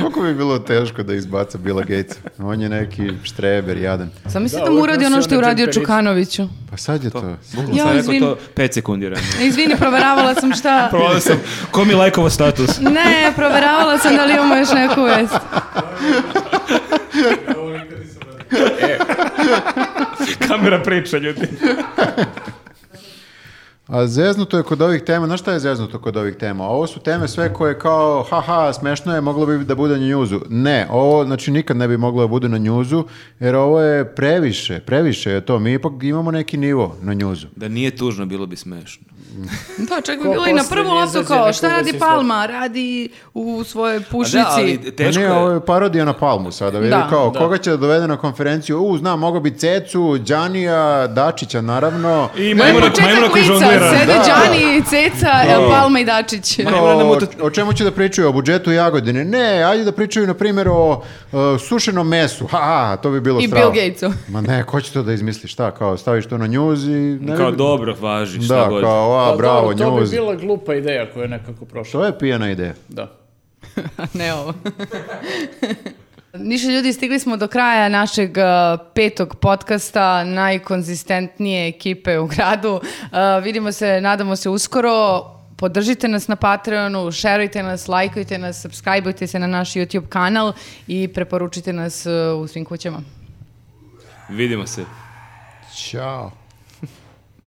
Koliko bi bilo teško da izbaca Billa Gatesa? On je neki štreber, jadan.
Sam misli
Da,
da, mu
uvek
uradi
nosi
ono što je
one
uradio
džemperice.
Čukanoviću.
Pa sad je to.
Bukvalno
Ja,
sam rekao
izvin.
to 5 sekundi ranije.
Izvini, proveravala sam šta...
Provalio sam, ko mi lajkova status?
Ne, proveravala sam da li imamo još neku vest.
Kamera priča, ljudi.
Pa, A zeznuto je kod ovih tema, znaš šta je zeznuto kod ovih tema? Ovo su teme sve koje kao, haha, smešno je, moglo bi da bude na njuzu. Ne, ovo znači nikad ne bi moglo da bude na njuzu, jer ovo je previše, previše je to. Mi ipak imamo neki nivo na njuzu.
Da nije tužno, bilo bi smešno.
Da, čak bi
Ko
bilo i na
posle
prvu
nije
loptu
izađe
kao,
nekoga
šta radi
si
Palma? Radi u svojoj
A
pušici.
Da, ali teško
Pa nije, ovo
je.
je parodija na Palmu sada. Vidi
Da,
kao, koga će da dovede na konferenciju? U, znam, mogo bi Cecu, Đanija, Dačića, naravno.
I
To je
majmuna,
početak
koji
lica,
žonglira.
sede
Da.
Đani, Ceca, El Palma i Dačić.
Ma-
Kao,
Ajmo da mu
o, o čemu će da pričaju? O budžetu Jagodine? Ne, ajde da pričaju, na primjer, o uh, sušenom mesu. Ha, ha, to bi bilo
I
strava.
Bill Gatesu.
Ma ne, ko će to da izmisli? Šta, kao, staviš to na njuz i... Ne
Kao
bi-
dobro, važi, šta
Da,
god.
kao, a,
Pa
bravo,
dobro, To
njuz.
bi bila glupa ideja koja je nekako prošla.
To je pijena ideja.
Da.
ne ovo. Niša ljudi, stigli smo do kraja našeg uh, petog podcasta, najkonzistentnije ekipe u gradu. Uh, vidimo se, nadamo se uskoro. Podržite nas na Patreonu, šerujte nas, lajkujte nas, subscribeujte se na naš YouTube kanal i preporučite nas uh, u svim kućama.
Vidimo se.
Ćao.